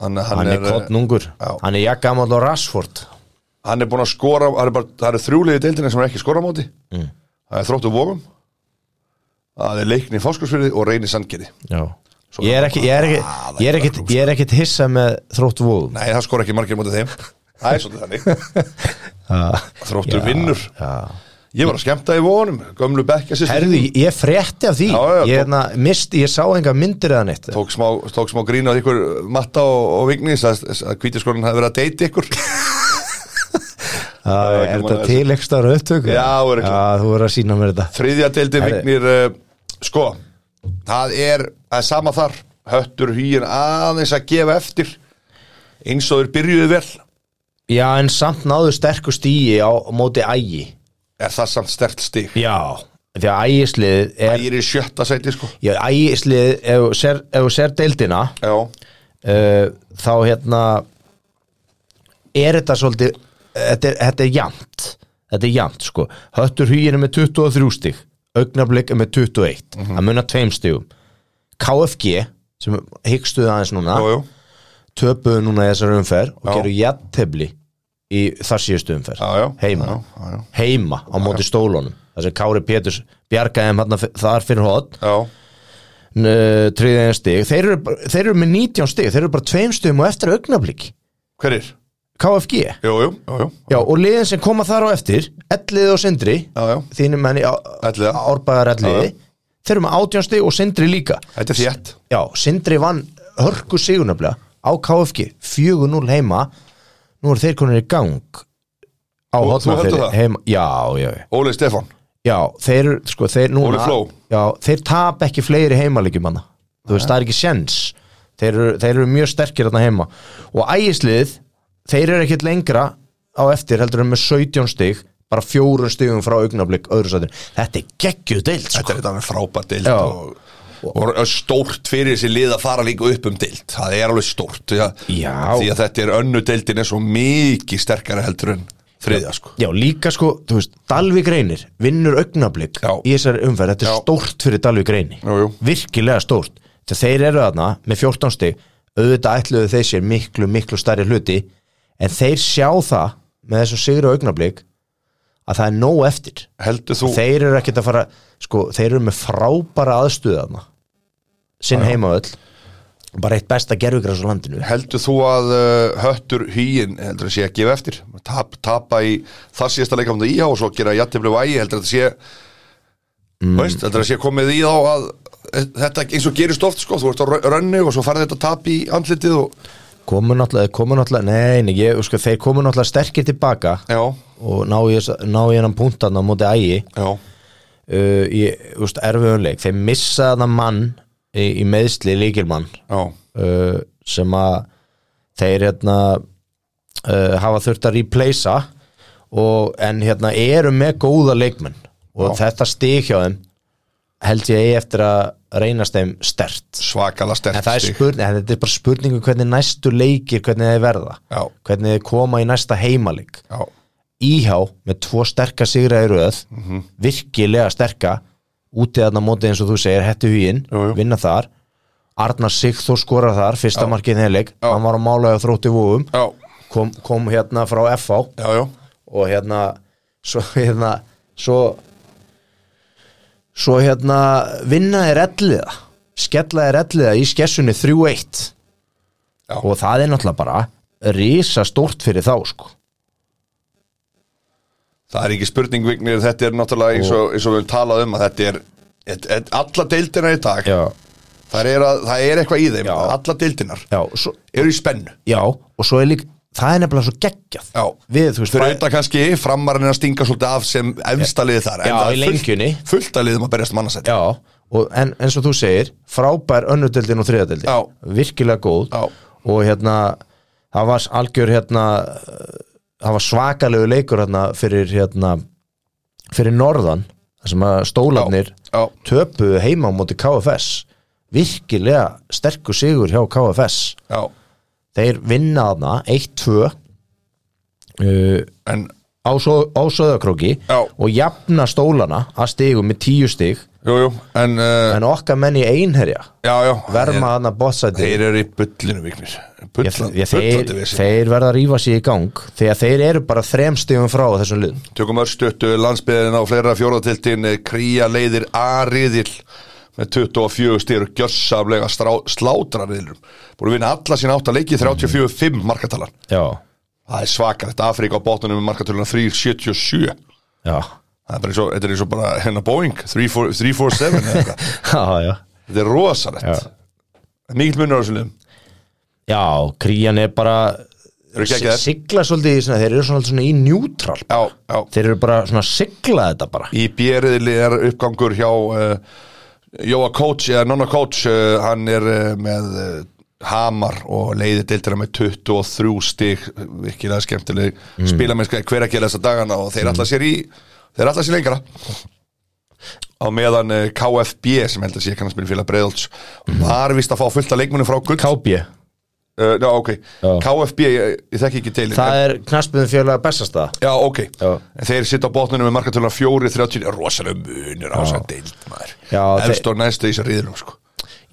Hann, hann, hann er er, eh, kottnungur Já. hann er jakkamal og Rashford hann er búin að skora Það er, bara, það er þrjúliði deildinni sem er ekki skora á móti Mm. Það er þróttu vógum Það er leikni í fóskursfyrði og reyni sandgeri Já Svo Ég er ekki, ég er ekki, Ah, ég er ekki, ég er ekki hissa með þrótt vóðum Nei, það skora ekki margir móti þeim Það er svolítið þannig Þróttur vinnur Ég var að skemmta í vonum, gömlu bekkja Herði, ég frétti af því Já, já, Ég, tók- hérna, mist, ég sá enga myndir eða neitt tók smá, tók smá grín á ykkur uh, matta og, og vignis að, að kvítiskorinn hafi verið að deyti ykkur Það já, er gaman að þetta til ekstra upptöku Já, örugglega. Þú verður að sína mér þetta þriðja deildi vignir uh, sko, það er það er sama þar, höttur hýin aðeins að gefa eftir eins og þeir byrjuðu vel Já, en samt náðu sterku stíi á móti ægi er það samt stert stig Já Því að ægislið er ég er í sjötta sæti sko Já, ægislið, ef þú sér- ef þú sér deildina já, uh, Þá hérna Er þetta svolítið Þetta er, þetta er jant Þetta er jant sko Höttur hýinu með 23 stig Augnablik er með 21 Það Mhm. munar tveim stigum KFG sem hyggstuðu aðeins núna já, já, töpuðu núna í þessari umferð og Já. gerðu jattefli í þar síðustu umferð já, já. heima, já, já, já. heima á móti stólunum þar sem Kári Péturs bjargaði þeim þarna f- þar fyrir hot já, triðið en stig þeir eru, bara- þeir eru með 19 stig þeir eru bara tveim stigum og eftir augnablik hver er? KFG jú, jú, jú, jú. Já, og liðin sem koma þar á eftir Elliði og Sindri Já, já. þínum menni Elliða. árbæðar Elliði Já, þeir eru með átjónsti og Sindri líka þetta er þétt Já, Sindri vann hörku sigurnöfla á KFG 4-0 heima nú eru þeir konir í gang á Þú- þú hotna heldur það? heima Já, já, já Óli Stefán, Já, þeir, eru, sko, þeir núna Óli Fló. Já, þeir tap ekki fleiri heimalíkjum hana Þú veist, það er ekki sens Þeir eru, þeir eru mjög sterkir þarna heima Og ægislið, þeir eru ekkit lengra á eftir heldur en með 17 stig bara fjórun stigum frá augnablik öðru sættin, þetta er geggjuð deild sko. þetta er þetta með frábært deild Já. og, og stórt fyrir þessi lið að fara líka upp um deild það er alveg stórt því að, Já. því að þetta er önnu deildin er svo mikið sterkara heldur en þriðja sko Já, líka sko, þú veist, Dalvik reynir vinnur augnablik Já. í þessari umferð þetta er Já. stórt fyrir Dalvik reyni Jú, jú. virkilega stórt þegar þeir eru þarna með 14 stig auðvitað ætluðu þeir sér miklu, miklu stærri hluti en þeir sjá það með þessum sigri á augnablik að það er nóg eftir heldur þú þeir eru ekkert að fara, sko, þeir eru með frábæra aðstöðu þarna sinn heimavöll bara eitt besta gerfugræs á landinu heldur þú að uh, höttur hýin heldur að sé að gefa eftir Tap, tapa í þar síðasta leikamönda íhá og svo gera jættiflu vægi heldur að þetta sé Mm. veist, heldur að sé komið í þá að e, þetta eins og gerist oft sko þú ert á rö- rönni og svo farið þetta tap í andlitið og komu náttúrulega, komu náttúrulega, nei, nei ég, sko, þeir komu náttúrulega sterkir tilbaka já, og ná ég, ná ég hennan punktan á móti ægi já, uh, í úst, erfiðunleik þeir missa þarna mann í, í meðsli líkilmann já, uh, sem að þeir hérna uh, hafa þurft að replacea og, en hérna eru með góða leikmenn og þetta stig hjá þeim held ég eigi eftir að reynast þeim stert svakala en sterkt það er stig. spurning, en þetta er bara spurningu hvernig næstu leikir, hvernig þeir verða Já. hvernig þeir koma í næsta heimalik já, Íhá með tvo sterka sigra í röð Mhm. virkilega sterka úti þarna móti eins og þú segir hættu huginn, Jú, jú. vinna þar Arnar Sigþór skorar þar, fyrsta markið þeirleik, hann var á málaði á þrótti vóum já, kom, kom hérna frá FH já, já og hérna svo hérna svo, svo hérna vinna er elliða skella er elliða í skessunni 3-1 Já. og það er náttúrulega bara risa stórt fyrir þá sko Það er ekki spurning Vignir, þetta er náttúrulega eins og, eins og við höfum talað um að þetta er et, et, alla deildinar í dag já, það er, að, það er eitthvað í þeim Já. alla deildinar já, svo, eru í spennu já og svo er líka, það er nefnilega svo geggjað Já. við, þú veist, fyrir bæ- auðvitað kannski framarinn að stinga svolítið af sem efstaliði þar en Já, það í er fullt, lengjunni. fullt að liðum að berjast um mannarsætt já, og en, eins og þú segir frábær önnudeldin og þriðadeldin Já. virkilega góð Já. og hérna, það var algjör hérna, uh, það var svakalegu leikur hérna fyrir hérna fyrir norðan, þar sem að stólarnir Já, já. töpuðu heima á móti KFS virkilega sterkur sigur hjá KFS já. þeir vinna þarna Uh, 1-2 uh, en á, svo, á söðakróki Já. og jafna stólana að stigum með 10 stig jú, jú, en, uh, en okkar menn í einherja já, já verma þarna Þeir- botsæti þeir eru í bullinu viknir Ég- bullandi ég- þeir, við sig þeir verða að rífa sér í gang þegar þeir eru bara þrem stigum frá þessum liðum tökum örstuttu landsbyðin á fleira fjóratiltin kría leiðir ariðil með 24 styr gjössamlega slátrariðlum búin að vinna alla sína átt að leiki 34-5 markatalan já, það er svakalegt Afríka á botnunum með markataluna 3-77 já, Það er bara eins og, þetta er eins og bara hennar Boeing 34- 347 eða eitthvað. já, já Þetta er rosalegt Já. Mikið munur á þessu liðum já, krían er bara Eru ekki ekki þær? sigla svolítið, í svona, þeir eru svona, svona í njútral Já, já þeir eru bara svona að sigla þetta bara Í bjeriðli er uppgangur hjá uh, Jóa Coach eða Nonna Coach uh, Hann er uh, með uh, Hamar og leiði deildina með 23 stig virkilega skemmtileg mm. spilamennska hver að gera þessa dagana og þeir mm. sér í þeir alltaf sér lengra á meðan uh, KFB sem heldur sér kannast minn félag Breiðolts Mhm. var vist að fá fullt af leikmunum frá gull KB, Uh, já, ok. Já. KFB, ég, ég þekki ekki deilin. það er knaspiðum fjölega bestasta Já, ok. Já. En þeir sitta á botnunum með markartölunar 4-30, rosalega munur á þessar deild, maður. Já, Efst og næstu í þessar riðlum, sko.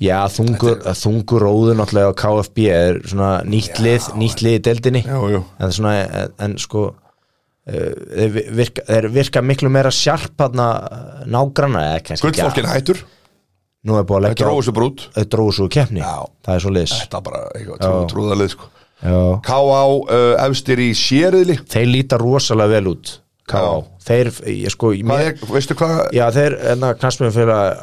Já, þungur, þungur róður náttúrulega á KFB er svona nýtt lið, nýtt lið í deildinni Já, já. en, svona, en, en sko eh, þeir vi- virka, þeir virka miklu meira sjarparna nágrana eða kannski ekki Gullfólkin hættur, að- Nú er búið að leggja dróðu sér brút. Þeir dróðu svo keppni Já. Það er svo liðs Þetta bara, eitthvað, trú, trúðalið, sko. Já. K.A. Uh, efstir í sérriðli. Þeir líta rosalega vel út K.A. Þeir, ég sko Hvað mér, er, veistu hvað? Já, þeir, enna knaspum fyrir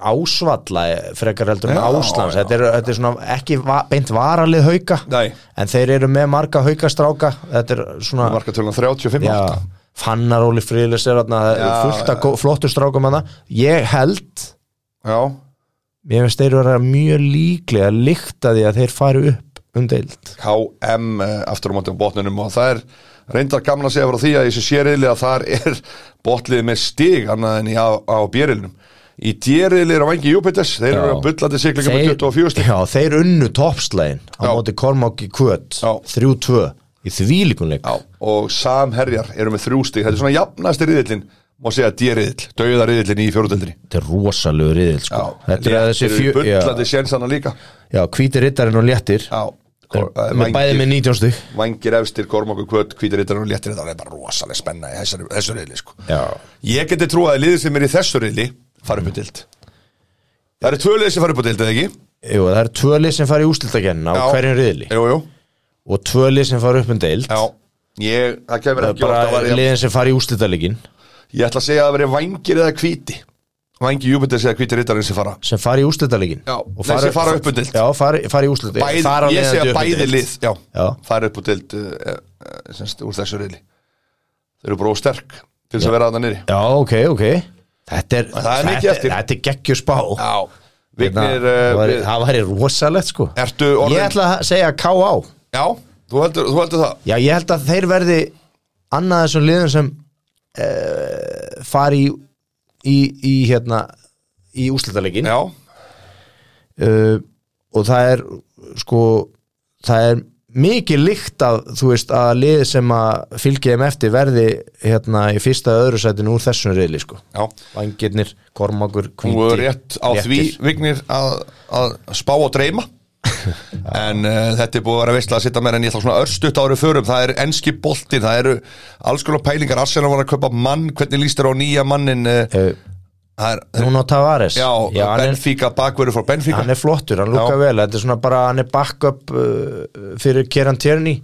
ásvalla eh, frekar heldur en Já, Áslands já, þetta, er, þetta er svona ekki va beint varalið hauka Nei. en þeir eru með marga haukastráka þetta er svona Markartölunar 35, já, átta. Fannar Óli Friðlis er þarna það Já, er fullt af gó- flottu strákum hana ég held, Já. ég veist þeir eru mjög líklega að líkta því að þeir fari upp um deild KM eh, aftur á móti á botnunum og það er reyndar gaman að segja frá því að í þessu sérriðli að þar er botliðið með stig annað en í á, á bjeriðlinum í djeriðli eru á vangi Júpiters þeir eru að bullandi siglingum með 24 stig já, þeir unnu toppslægin á Já. móti Kormáki Kvöt Já. 3-2 í þvílíkunleik Já, og samherjar eru með þrjú stig þetta er svona jafnasti riðillin má segja djeriðill, dauða riðillin í fjóruðildinni þetta er rosalegu riðil sko. þetta er að þessi fjö fjö já, bullandi sénsana líka já, hvíti rittarinn og léttir já, Þeir- með bæði með 19 stygg Vangir efstir, Kormáku Kvöt, Kvítirittar og Léttir það er bara rosalega spenna í þessu, þessu riðli sko. Já. Ég geti trúið að liðið sem er í þessu riðli fara upp á dild Það eru tvö liðið sem fara upp á dild, eða ekki? Jú, það eru tvö lið sem fara í ústildagenna á Já. hverjum riðli Jú, jú, og tvö lið sem fara upp um deild já Ég, það kemur það er ekki orð að bara vera liðin sem fara í ústildalegin Ég ætla að segja að það veri vangir eða kvíti Vangi Júpiter segja kvítirittarinn sem fara sem fara í ústildalegin Já, þeir sem fara upp um deild. já, fara, fara í ústildalegin bæði, Ég segja bæði lið, já, um Já. fara upp á dild uh, uh, semst, úr þessu riðli Þau eru bara ósterk til þess að vera þarna niðri já, ok, ok þetta er, Það er mikið þetta, eftir. þetta er geggjur spá Hérna, Já, Vignir það uh, væri- við- það væri rosalegt sko Ertu ég orðin ætla að segja K.A. Já, þú heldur, þú heldur það Já, ég held að þeir verði annað þessum liðum sem uh, fari í, í, í hérna í úslitaleikin uh, Já, Eh, og það er sko það er mikið líkt að þú veist að liðið sem að fylgja þeim eftir verði hérna í fyrsta eða öðru sætinu úr þessum reyli sko já Vangirnir, Kormakur, Kvíti Hún er rétt á því Vignir að, að spá og dreyma En uh, þetta er búið að vera veistlega að sitta með en ég þá svona örstutt ári förum það er enski boltinn, það eru alls konar pælingar, Arsenal var að kaupa mann hvernig líst þér á nýja mannin uh, uh, það er, Núna Tavares já, hann er Benfica, bakverður frá Benfica hann er flottur, hann lúka Já. vel þetta er svona bara, hann er backup uh, fyrir Kieran Tierney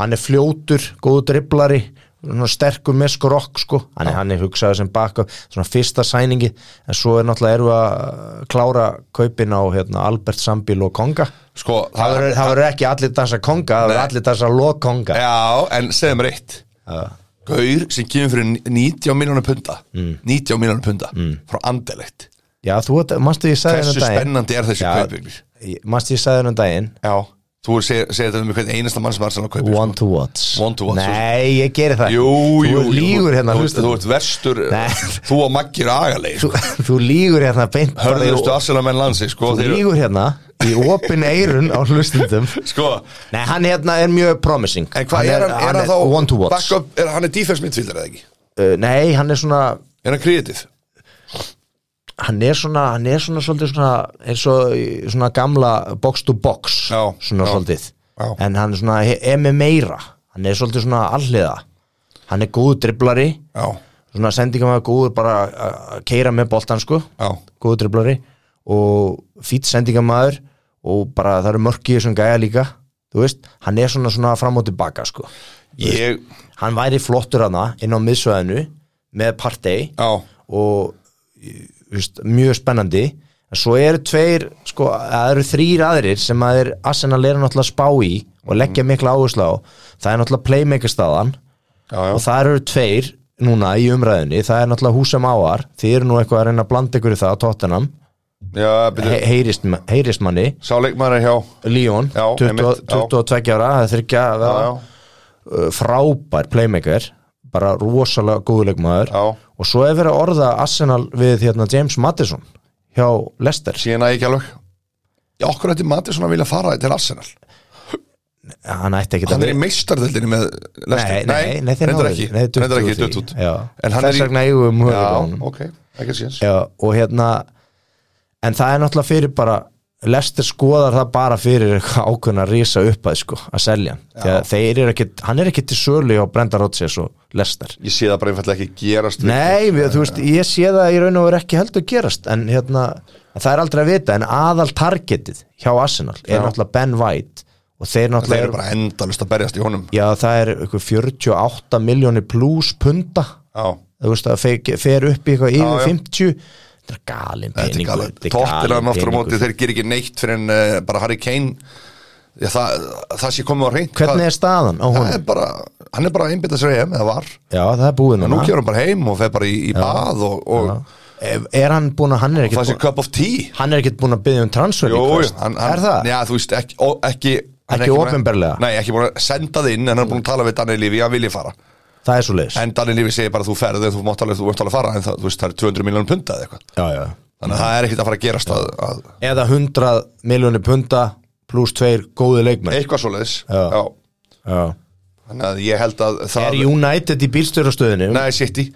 hann er fljótur, góðu driblari svona sterkur með skrokk sko hann er, hann er hugsaður sem baka svona fyrsta sæningi en svo er náttúrulega erum við að klára kaupin á hérna, Albert Sambil og Konga Sko, það verður- það verður ekki allir dansa Konga það verður Nei. allir dansa Lo Konga Já, en segðu mér eitt Gaur sem kemur fyrir 90 miljónum punda Mm. 90 miljónum punda frá andelegt já þú, ert- manstu ég sagði Hversu þennan daginn spennandi er þessi Já. kaupir? Ég- manstu ég sagði þennan daginn Já Þú segir segir þetta um hvern einasta mann sem er sem að kaupir One to watch One to watch. Nei, ég geri það Jú, Þú jú, jú, lígur þú- hérna þú- hlustu Þú ert verstur, Nei. þú og Maggi er agalegi þú, sko. þú lígur hérna beint bara í- Hörðustu afsælamenn landsins sko, Þú þeir- lígur hérna í opin eirun á hlustundum sko, Nei, hann hérna er mjög promising En hvað er hann, er hann þá One to watch backup, er, Hann er defense midfielder eða ekki uh, Nei, hann er svona Er hann kreatív? Hann er svona, hann er svona svolítið svona eins og í svona gamla box to box Já, svona já. svolítið Já. en hann er svona MMA-ra hann er svolítið svona alliða hann er góð driblari Já, svona sendingum að góður bara að keira með boltan sko Já. góður driblari og fýtt sendingamæður og bara það eru mörk í þessum gæja líka þú veist, hann er svona svona fram og tilbaka sko ég, hann væri flottur hana inn á miðsvæðinu með partei já og þú veist, mjög spennandi en svo eru tveir, sko, það eru þrýr aðrir sem að er Arsenal er náttúrulega að spá í og leggja mikla áherslu á það er náttúrulega playmaker staðan Já, já. og það eru tveir núna í umræðinni, það er náttúrulega húsum áar þið eru nú eitthvað að reyna að blanda ykkur í það á Tottenham, Já, byrju, He heyrist, heyrist manni sá leikmaður er hjá Lyon, Já, 20, einmitt, já. 22 ára það þurfti að Já, vera já, uh, frábær playmaker bara rosalega góðuleg maður Já. og svo er verið að orða Arsenal við hérna, James Madison hjá Leicester síðan að ég ekki alveg Já, okkur ætti Matisson að vilja fara til Arsenal hann ætti ekki Hann er í meistardeldinni með Leicester. Nei, nei, nei, þeir reyndar náðu ekki því. Nei, þeir Reyndar duttu ekki, úr því. dutt út Já. En hann Þess er í vegna eigum við möguleika á Já, honum. ok, ekki síðans Já, og hérna en það er náttúrulega fyrir bara Leicester skoðar það bara fyrir eitthvað ákveðna rísa uppæð sko að selja hann. þegar þeir eru ekki, hann er ekki til sölu á Brenda Rodgers og Leicester Ég sé það bara einfallega ekki gerast Nei, við, þú veist, ég sé það í raun og veru ekki heldur gerast en hérna, en það er aldrei að vita en aðal targetið hjá Arsenal er Já. náttúrulega Ben White og þeir Þeir náttúrulega eru bara endalist að berjast í honum já, það er ykkur 48 miljónir pluss punta Já þú veist, það fer, fer upp í eitthvað yfir já. 50 þetta er galin Þetta er peningur galið, tóttilegan aftur á móti, þeir ger ekki neitt fyrir en uh, bara Harry Kane Já, það, það sé komið á reynd hvernig er staðan á það er honum? bara, hann er bara að einbytta sér heim eða var, Já, það er búið en nú núna kemur hann bara heim og fer bara í, í bað og, og er, er hann búin að hann er það ekkert sé búin, cup of tea hann er ekkert búin að byggja um transfer Jú, jú, request er það? Já, þú veist, ekki, ó, ekki hann er Ekki búinn að- opinberlega? Nei, ekki búin að senda það inn en hann er búin að tala við Daniel Lífi, hann vilji fara það er svo leis en Daniel Lífi segir bara þú ferði, þú mátt alveg, þú mátt alveg fara en það, þú veist, það er 200 miljónum punta eða eitthvað já, já þannig að það er ekkit að fara að gerast að, að eða 100 miljónir punta pluss tveir góði leikmenn eitthvað svoleiðis Já. Já. Þannig að ég held að það er United í bílstjórastöðinu Nei, City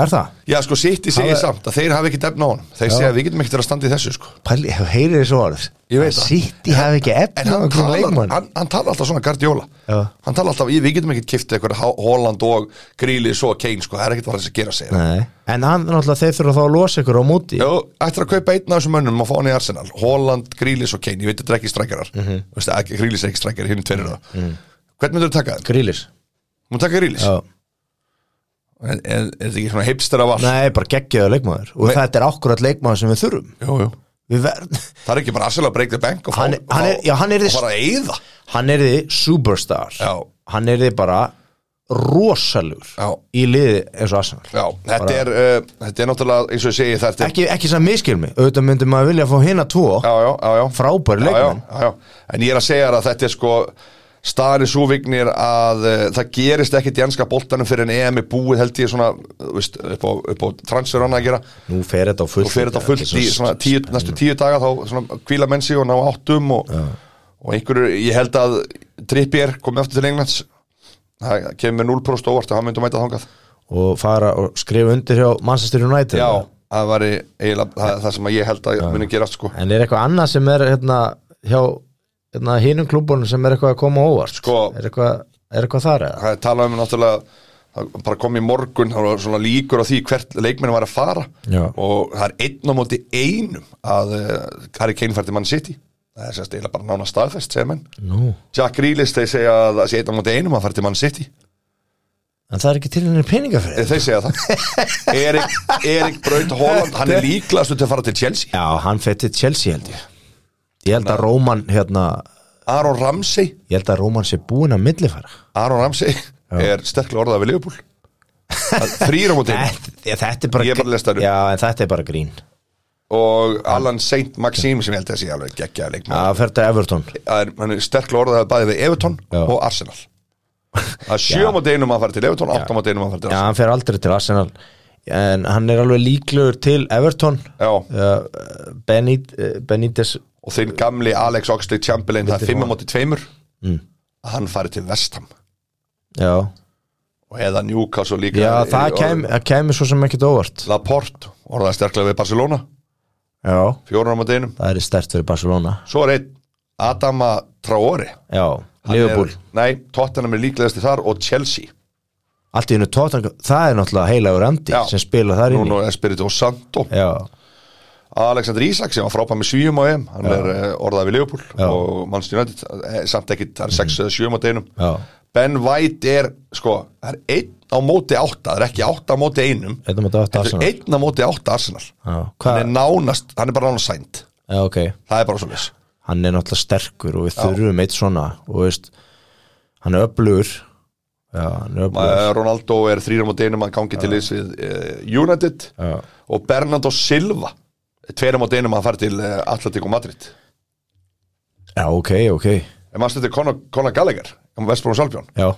er það? Já, sko, City segir Hafa- samt að þeir hafi ekki defna á honum Þeir segja að við getum ekkert verið að standa í þessu, sko Pæli, heyrið þessu orð Ég veit það. City hafi ekki En efna hann okkur talar, leikmann hann, hann talar alltaf svona gardjóla Já. Hann talar alltaf, ég, við getum ekkert kiftið eitthvað Holland og Gríli, svo Kane, sko Það er ekkert að þess að gera segja Nei. en hann náttúrulega þeir þurfa þá að losa ykkur á móti Jó, ættir að kaupa einn af þessum mönnum og fá hann í Arsenal Holland, Grílis og Kane, ég veit þetta er ekki strækjarar mm Mhm. -hmm. Grílis er ekki strækjar, hinn tverir það mm -hmm. Hvern myndur þú taka þeim? grílis Mún taka Grílis? Mhm. Já. En, en, er þetta ekki svona hipster af all? nei, bara geggjaðu leikmaður og Nei. þetta er akkurat leikmaður sem við þurfum Jú, jú. við verð, Það er ekki bara Arsenal að break the bank og fá, Hann- hann er- fá- já, hann er- og fara að eyða hann er þið superstar Já. hann er þið bara rosalur Já. í liði eins og Arsenal Já, þetta er, uh, þetta er náttúrulega eins og ég segi þetta er, ekki, ekki sem miskilmi, auðvitað myndi maður vilja að fá hina tvo já, já, já, já. frábæri já, já, leikmenn já, já. En ég er að segja þér að þetta er sko staðan er svo vignir að uh, það gerist ekkit í ennska boltanum fyrir en EM er búið held ég svona þú veist, upp á, upp á transfer og annað að gera Nú fer þetta á fullt sko. og fyrir þetta á fullt í svona tíu, næstu tíu daga þá svona kvíla menn sig og ná áttum og, og einhverju, ég held að Trippier komið aftur til Englands það kemur með 0% óvart og hann myndi að mæta þangað Og fara og skrifa undir hjá Manchester United Já, það var eiginlega það, það sem að ég held að muni gerast sko En er eitthvað annað sem er hérna hjá hérna hinum klúbunum sem er eitthvað að koma á óvart Sko- er, eitthvað, er eitthvað þar eða? það er talað um náttúrulega það bara kom í morgun, það var svona líkur á því hvert leikmennu var að fara Já. og það er einn á móti einum að uh, Harry Kane fær til mann City það er sérst eiginlega bara nána staðfest segja menn Nú, Jack Grealish þeir segja að það sé einn á móti einum að fær til mann City en það er ekki til henni peninga fyrir Eh, Þeir segja það Erik, Erik Braut Holland, hann er líklastu til að fara til Chelsea Já, hann fer til Chelsea held ég Ég held að Róman hérna, Aron Ramsey ég held að Róman sé búin að millifæra Aron Ramsey er sterklega orðað við Liverpool Það- Þrír á móti þetta, ég- þetta er bara, Ég er bara að lesa það upp. Já, en þetta er bara grín og Alan Saint Maxim sem ég held að sé alveg geggjaði leikmann Það fer til Everton Það er- hann er sterklega orðað bæði við Everton Já. og Arsenal Það er sjö á móti einum að fara til Everton, átt á móti einum að fara til Já, Arsenal hann fer aldrei til Arsenal En hann er alveg líklegur til Everton Já. uh, Benít, uh, Benítez og þinn gamli Alex Oxlade Chamberlain það er Vildi fimm á fá- móti tveimur að hann fari til Vestham mm, Já, og eða Newcastle líka já Í- það í- kæmi, það kæmi svo sem ekkit óvart Laporte, orðaði sterklega við Barcelona Já, fjórar á móti einum það er stert fyrir Barcelona Svo er einn Adama Traore Já, Hann Liverpool er, Nei, Tottenham er líklegasti þar og Chelsea Allt í hennu tóttan, það er náttúrulega heilagur andi Já. sem spila þar inni Núna er Espirito Santo Já, Alexander Isak sem var frábæð með svíum á EM Hann er eh, orðað við Leopold Já. Mhm. og Manchester United eh, samt ekki, það er 6 eða 7 á deginum já, Ben White er, sko, það er einn á móti átta, það er ekki átta á móti einum þetta maður Það átt er um Arsenal Já, einn á móti átta Arsenal Hann er hvað, nánast, hann er bara nánast sænt já, ok Það er bara svo leys Hann er náttúrulega sterkur og við þurfum eitt svona og veist, hann er öflugur Já, hann er öflugur Eh, Ronaldo er þrýra móti einum að gangi til leys við eh, United Já, og Bernardo Silva tveira mót einum að fara til eh, Atletico Madrid já ok, ok en maður stöndi Conor Conor Gallagher um Vestbrún Salbjón, Já,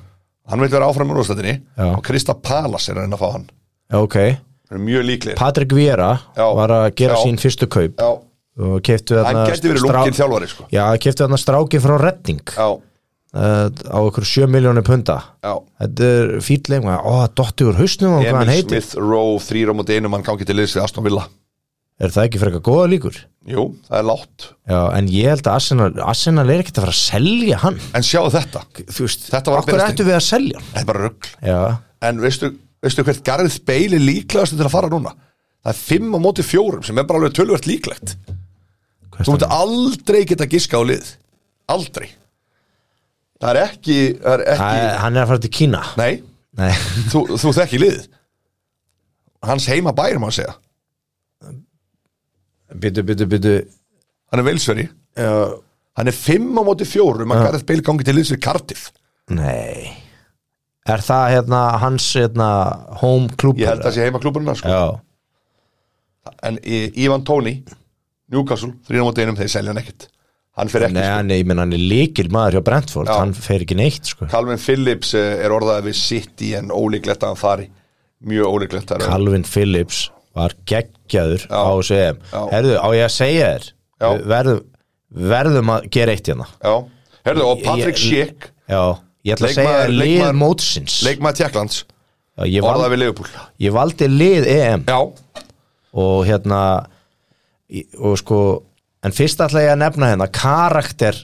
hann vil vera áfram í úrstættinni Já. og Krista Palas er að reyna að fá hann já, ok hann er mjög líklegir Patrik Vera Já, var að gera já. sín fyrstu kaup já, og keftu hann þarna gæti verið strá- lungin þjálfari sko. Já, keftu þarna stráki frá Redding já, uh, á ykkur 7 miljónu punda já Þetta er fýll leikma Ó, dotti úr hausnum á hvað hann Emil heitir Smith Rowe þrýra mót einum hann gangi til leys við Aston Villa Er það ekki frekar góða líkur? jú, það er látt Já, en ég held að Arsenal, Arsenal er ekkert að fara að selja hann en sjáu þetta, Þú veist, Þetta var að okkur berast inn. ættu við að selja hann það er bara rugg Já, en veistu, veistu hvert Gareth Bale er líklegast til að fara núna það er fimm á móti fjórum sem er bara alveg tölvert líklegt Hvert Þú mútti aldrei geta giska á lið Aldrei Það er ekki, það er Æ, ekki Hann er að fara til Kína Nei, Nei, þú, þú þekki lið Hans heima bæri má segja byttu, byttu, byttu Hann er velsveri Já, Hann er fimm á móti fjórum að Gareth Bale gangi til liðs við Cardiff Nei Er það hérna hans hérna home klúb Ég held að það sé heima klúburinn sko. Já, En í- Ivan Tóni Newcastle, þrýna móti einum, þeir selja hann ekkit Hann fer ekki nei, sko. hann, ég menn hann er líkil maður hjá Brentford, Já. hann fer ekki neitt sko. Calvin Phillips eh, er orðað við City en ólíklegt að hann fari Mjög ólíklegt að hann Calvin Phillips var geggjaður á CM Já. Herðu, á ég að segja þér Já. Við verðum, verðum að gera eitt hérna Já, herðu, og Patrick Ég- Schick Já, ég ætla að segja Leikmaður- þér lið leikmaður- mótsins Leikmaður Tjekklands, Já, ég, val, orðað við Leifupúl ég valdi lið EM Já, og hérna í- og sko, en fyrst ætla ég að nefna hérna karakter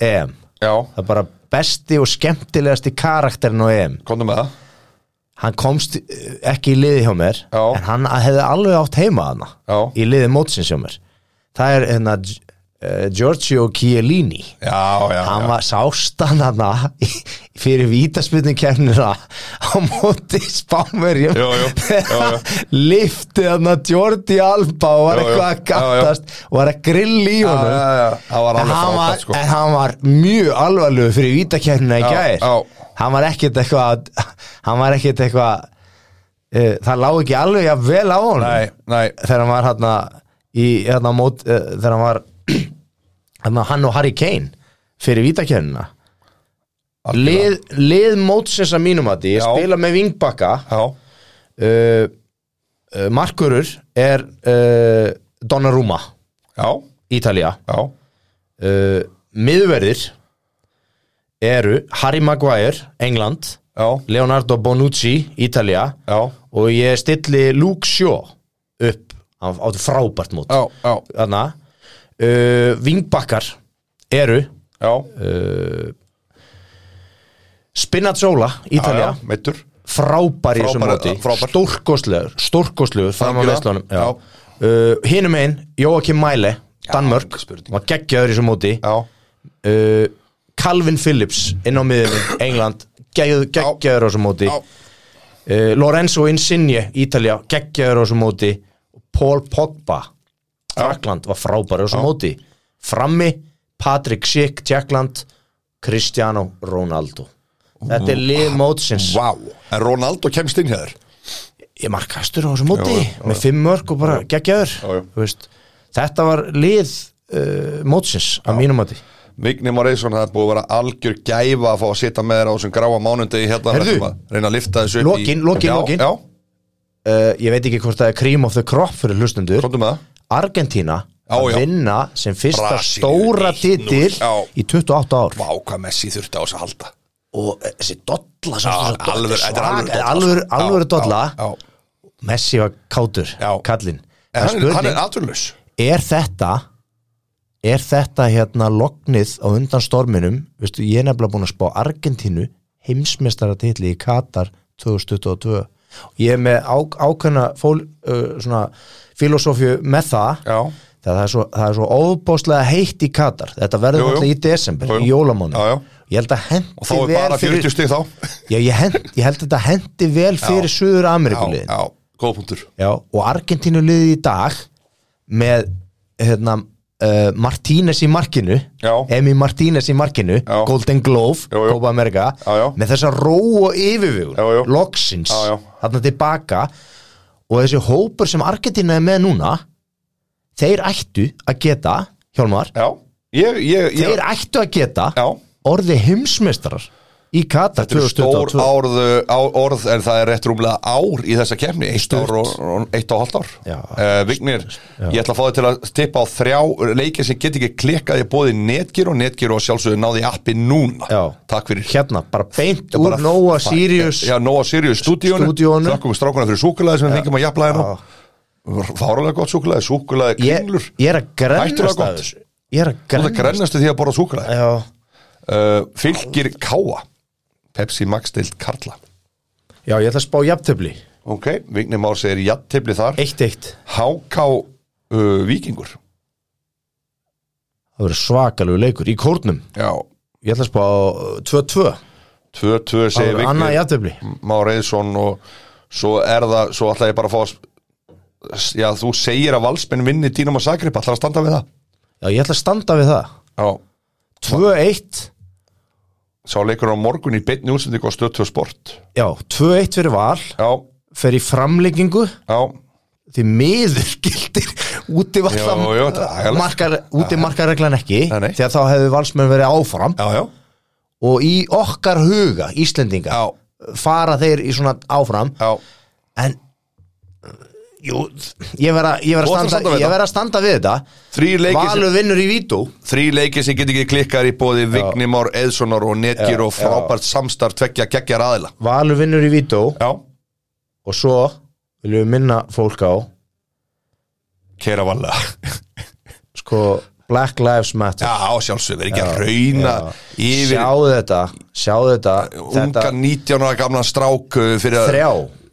EM Já, það er bara besti og skemmtilegasti karakterin á EM komdu með það hann komst eh, ekki í liði hjá mér Já. en hann hefði alveg átt heima hana Já. í liði mótsins hjá mér það er hérna uh, Giorgio Chiellini Já, já, hann já. var sástan hana í- fyrir vítaspilni kemnina á móti spámerjum Jú, jú, jú, jú. lifti hana Jordi Alba og var Jú, jú. eitthvað Já, að já. gattast og var að grilla í honum já, já. Það var en alveg hann var, frábært sko en hann var mjög alvarlegur fyrir vítakernina í Já, gær já. hann var ekkert eitthvað hann var ekkert eitthvað uh, það lág ekki alveg að vel á honum Nei, nei, þegar hann var hérna í hérna mót uh, þegar hann var hérna, hann og Harry Kane fyrir vítakernina algjörlega. lið, lið mótsins að mínum að því Já. spila með vingbakka Já, uh, uh, markurur er uh, Donnarumma já, Ítalía já uh, miðverðir eru Harry Maguire, England Já, Leonardo Bonucci, Ítalía já, og ég stilli Luke Shaw upp hann átti frábært mót já, já, þarna uh, vingbakkar eru uh, já Spinazzola, Ítalía Meittur frábær í þessu Frábær, móti frábær. stórkostlegur, stórkostlegur fram á Algjörlega, veistlunum já. uh, hinum einn, Jóakim Mæle Danmörk, ekki spurning. var geggjaður í þessu móti Já, uh, Calvin Phillips inn á miðunum England geggjaður á þessu móti Já. uh, Lorenzo Insigne, Ítalja geggjaður á þessu móti Paul Pogba, Frakland var frábæri á þessu móti Frammi, Patrick Schick, Tjekkland Cristiano Ronaldo Þetta er lið mótsins Vá, en Ronaldo kemst inn hér ég markastur á þessu móti Já, já, já. með fimm mörg og bara geggjaður Já, já. Þú veist, þetta var lið uh, mótsins að mínum mati Vigni Moreisson, það er búið að vera algjör gæfa að fá að sitja með þér á þessum gráa mánundi hérna, Heyrðu. við ætlum að reyna að lifta þessu upp Lokin, í... lokin, já, lokin. Já, uh, ég veit ekki hvort það er cream of the crop fyrir hlustendur komdu með það Argentína Já, að já. vinna sem fyrsta Brasilíu, stóra 1-0, titil já. í 28 ár Vá, hvað Messi þurfti á þessu að halda og eh, þessi dolla Já, sem svo- þetta er alvöru- svak- þetta er alvöru dolla, alvöru, sko. alvöru Já, dolla já, já. Messi var kátur, Já. kallinn En Það er hann, er- hann spurning, er atvinnlaus er þetta er þetta hérna loknið á undan storminum Vistu, ég er nefnilega búin að spá Argentínu heimsmestaratitli í Katar 2022 ég er með á, ákveðna fól, uh, svona filosófju með það Já, það, það er svo, það er svo óbóðslega heitt í Katar þetta verður Jú, jú. náttúrulega í desember, Jú, jú. í jólamónu Já, já. ég held að og þá hendi er vel bara 40 fyrir stig þá já, ég, hend, ég held að þetta hendi vel fyrir Suður Já, Amerikuliðin já, góð punktur Já, og Argentínu liðið í dag með hérna, uh, Martínez í markinu Já. Emi Martínez í markinu Já. Golden Glove, Jú, jú. Copa America Já, já. með þessa ró og yfirvögun Jú, jú. loksins, Já, já. þarna tilbaka og þessi hópur sem Argentína er með núna þeir ættu að geta Hjálmar, Já, ég, ég, ég þeir ættu að geta Já, orði heimsmeistarar í Katar þetta er stór 2022 árð, á, orð en það er rétt rúmlega ár í þessa kemni eitt Stutt. ár og, og eitt og hálft ár Já. Eh, Vignir, ég ætla að fá þau til að tippa á þrjá leikir sem get ekki klikkað ég bóði netgir og netgir og sjálfsögðu náði í appi núna Já. Takk fyrir hérna, bara beint úr bara- Nóa Sirius Já, Nóa Sirius stúdíónu Stúdíónu. Þakkum við strákuna fyrir súkulaði sem við þingjum að jafnlaði nú Já. Fárulega gott súkulaði, súkulaði ég, kringlur ég er að Hættulega grennast gott. að þessu ég er að Þú ert að grennast grennastu því að borða súkulaði já, uh, Fylgir Káa Pepsi Max deild Karla já, ég ætla að spá jafntöfli Ok, Vignir Már segir jattifli þar eitt eitt, HK uh, Víkingur það verður svakalegu leikur í kórnum, Já, ég ætla að spá uh, 2-2, 2-2 það segir verður annað Vignir jafntöfli Már Eðsson og svo er það, svo ætla ég bara að fá að s- Já, þú segir að valsmenn vinni Dínamo Zagreb, ætlar að standa við það já, ég ætla að standa við það Já, 2-1, sá leikur á morgun í beinni útsendingu á stöttu og sport já, 2-1 fyrir val já, fer í framleggingu já, því miður gildir úti Jú, jú, þetta er vallar agalegt. markar, úti markarreglan ekki Nei, nei. því að þá hefðu valsmenn verið áfram já, já, og í okkar huga, Íslendinga já, fara þeir í svona áfram já. en jú, ég verð að, ég verð Þú að ætlar að standa standa, við ég það. verð að standa við þetta Þrý, leiki sem, Valur vinnur í Vító þrý leiki sem get ekki klikkar í bóði Vignimár, Eðssonar og Netgir Já, og frábært samstarf tveggja geggjar aðila Valur vinnur í Vító já, og svo viljum við minna fólk á kera valla sko Black Lives Matter já, sjálfsög, verið ekki að rauna yfir sjáðu þetta sjáðu þetta, þetta unga 19 ára gamlan strák uh, fyrir að þrjá,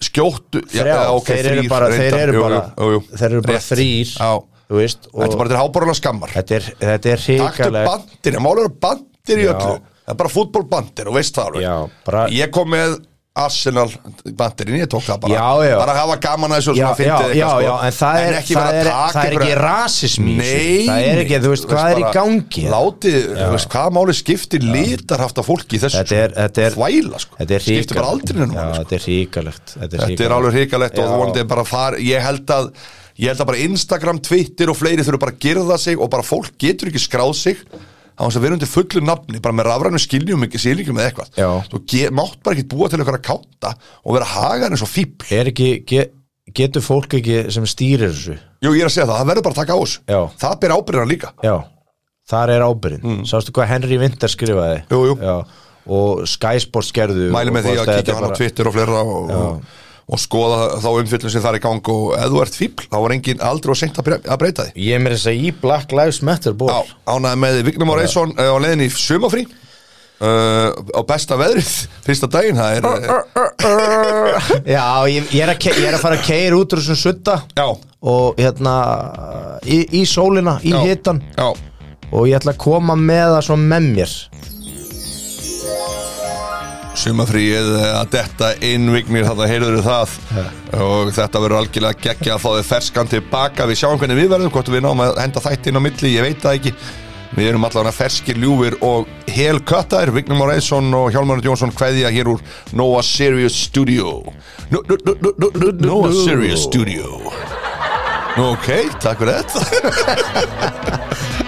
skjóttu já, þrjá já, ok, þeir, eru þrír, bara, þeir reyndar. eru Jú, bara jú, jú, jú. þeir eru bara Rétt. þrýr Já. þú veist, og þetta er bara til háborðan skammar þetta er, þetta er Taktu hrikalegt bandir, málur eru bandir í Já. öllu Það er bara fútbolbandir og veist það alveg Já, bara- Ég kom með Arsenal bandirinn, ég tók það bara Já, já. Bara að hafa gaman að þessu og já, svona já, fyndið já, eitthvað sko. já, en það er, ekki það vera er, að taka það er ekki einhverja- rasismi í Nei, þessu. það er ekki, þú veist, hvað er í bara, gangi hérna? Látið, þú veist, hvað máli skiptir litar haft að fólki í þessu sko? þetta er, þetta er, Þvæla, sko þetta er Skiptir bara aldrei hrikalegt nefnum Já, máli, sko þetta er hrikalegt þetta er, Þetta er hrikalegt. alveg hrikalegt og Já. þú vondið bara far Ég held að Ég held að bara Instagram, Twitter og fleiri þurfa bara að girða sig og bara fólk getur ekki skráð sig á þess að vera undir fullu nafni bara með rafrænum skiljum, ekki skiljum eða eitthvað Já. Þú ge- mátt bara ekki búa til eitthvað að káta og vera hagan eins og fíbl er ekki, ge, getur fólk ekki sem stýrir þessu Jú, ég er að segja það, það verður bara að taka á þessu Já. Það ber ábyrðan líka já, þar er ábyrðin sástu hvað Henry Vinter skrifaði Jú, Mm. jú. Já, og Sky Sports gerðu Mæli með og því að hvort kíkja á þetta hann á bara- Twitter og fleira og, og, og skoða þá umfyllum sem það er í gang og ef þú ert fíbl, þá var engin aldrei og seint að bre- að breyta því ég er með þess að í Black Lives Matter ból Já, ánæði með Vignum og Reisson uh, á leiðin í sumafrí uh, á besta veðrið fyrsta daginn það er uh, já ég, ég, er að, ke- ég er að fara að keir út úr þessum sutta já, og hérna í, í sólina, í já, hitan já, og ég ætla að koma með það svo með mér sumafríið eh, að detta inn vignir þarna heyrður það og þetta verður algjörlega geggja að fá þið ferskan tilbaka við sjáum hvernig við verðum, hvort við náum að henda þætti inn á milli, ég veit það ekki við erum allavega ferskir ljúfir og helköttar, Vignum Már Einsson og Hjálmar Örn Jónsson kveðja hér úr Noah Sirius Studio no, no, no, no, no, no, Noah Sirius Studio Nú, ok, takk fyrir þetta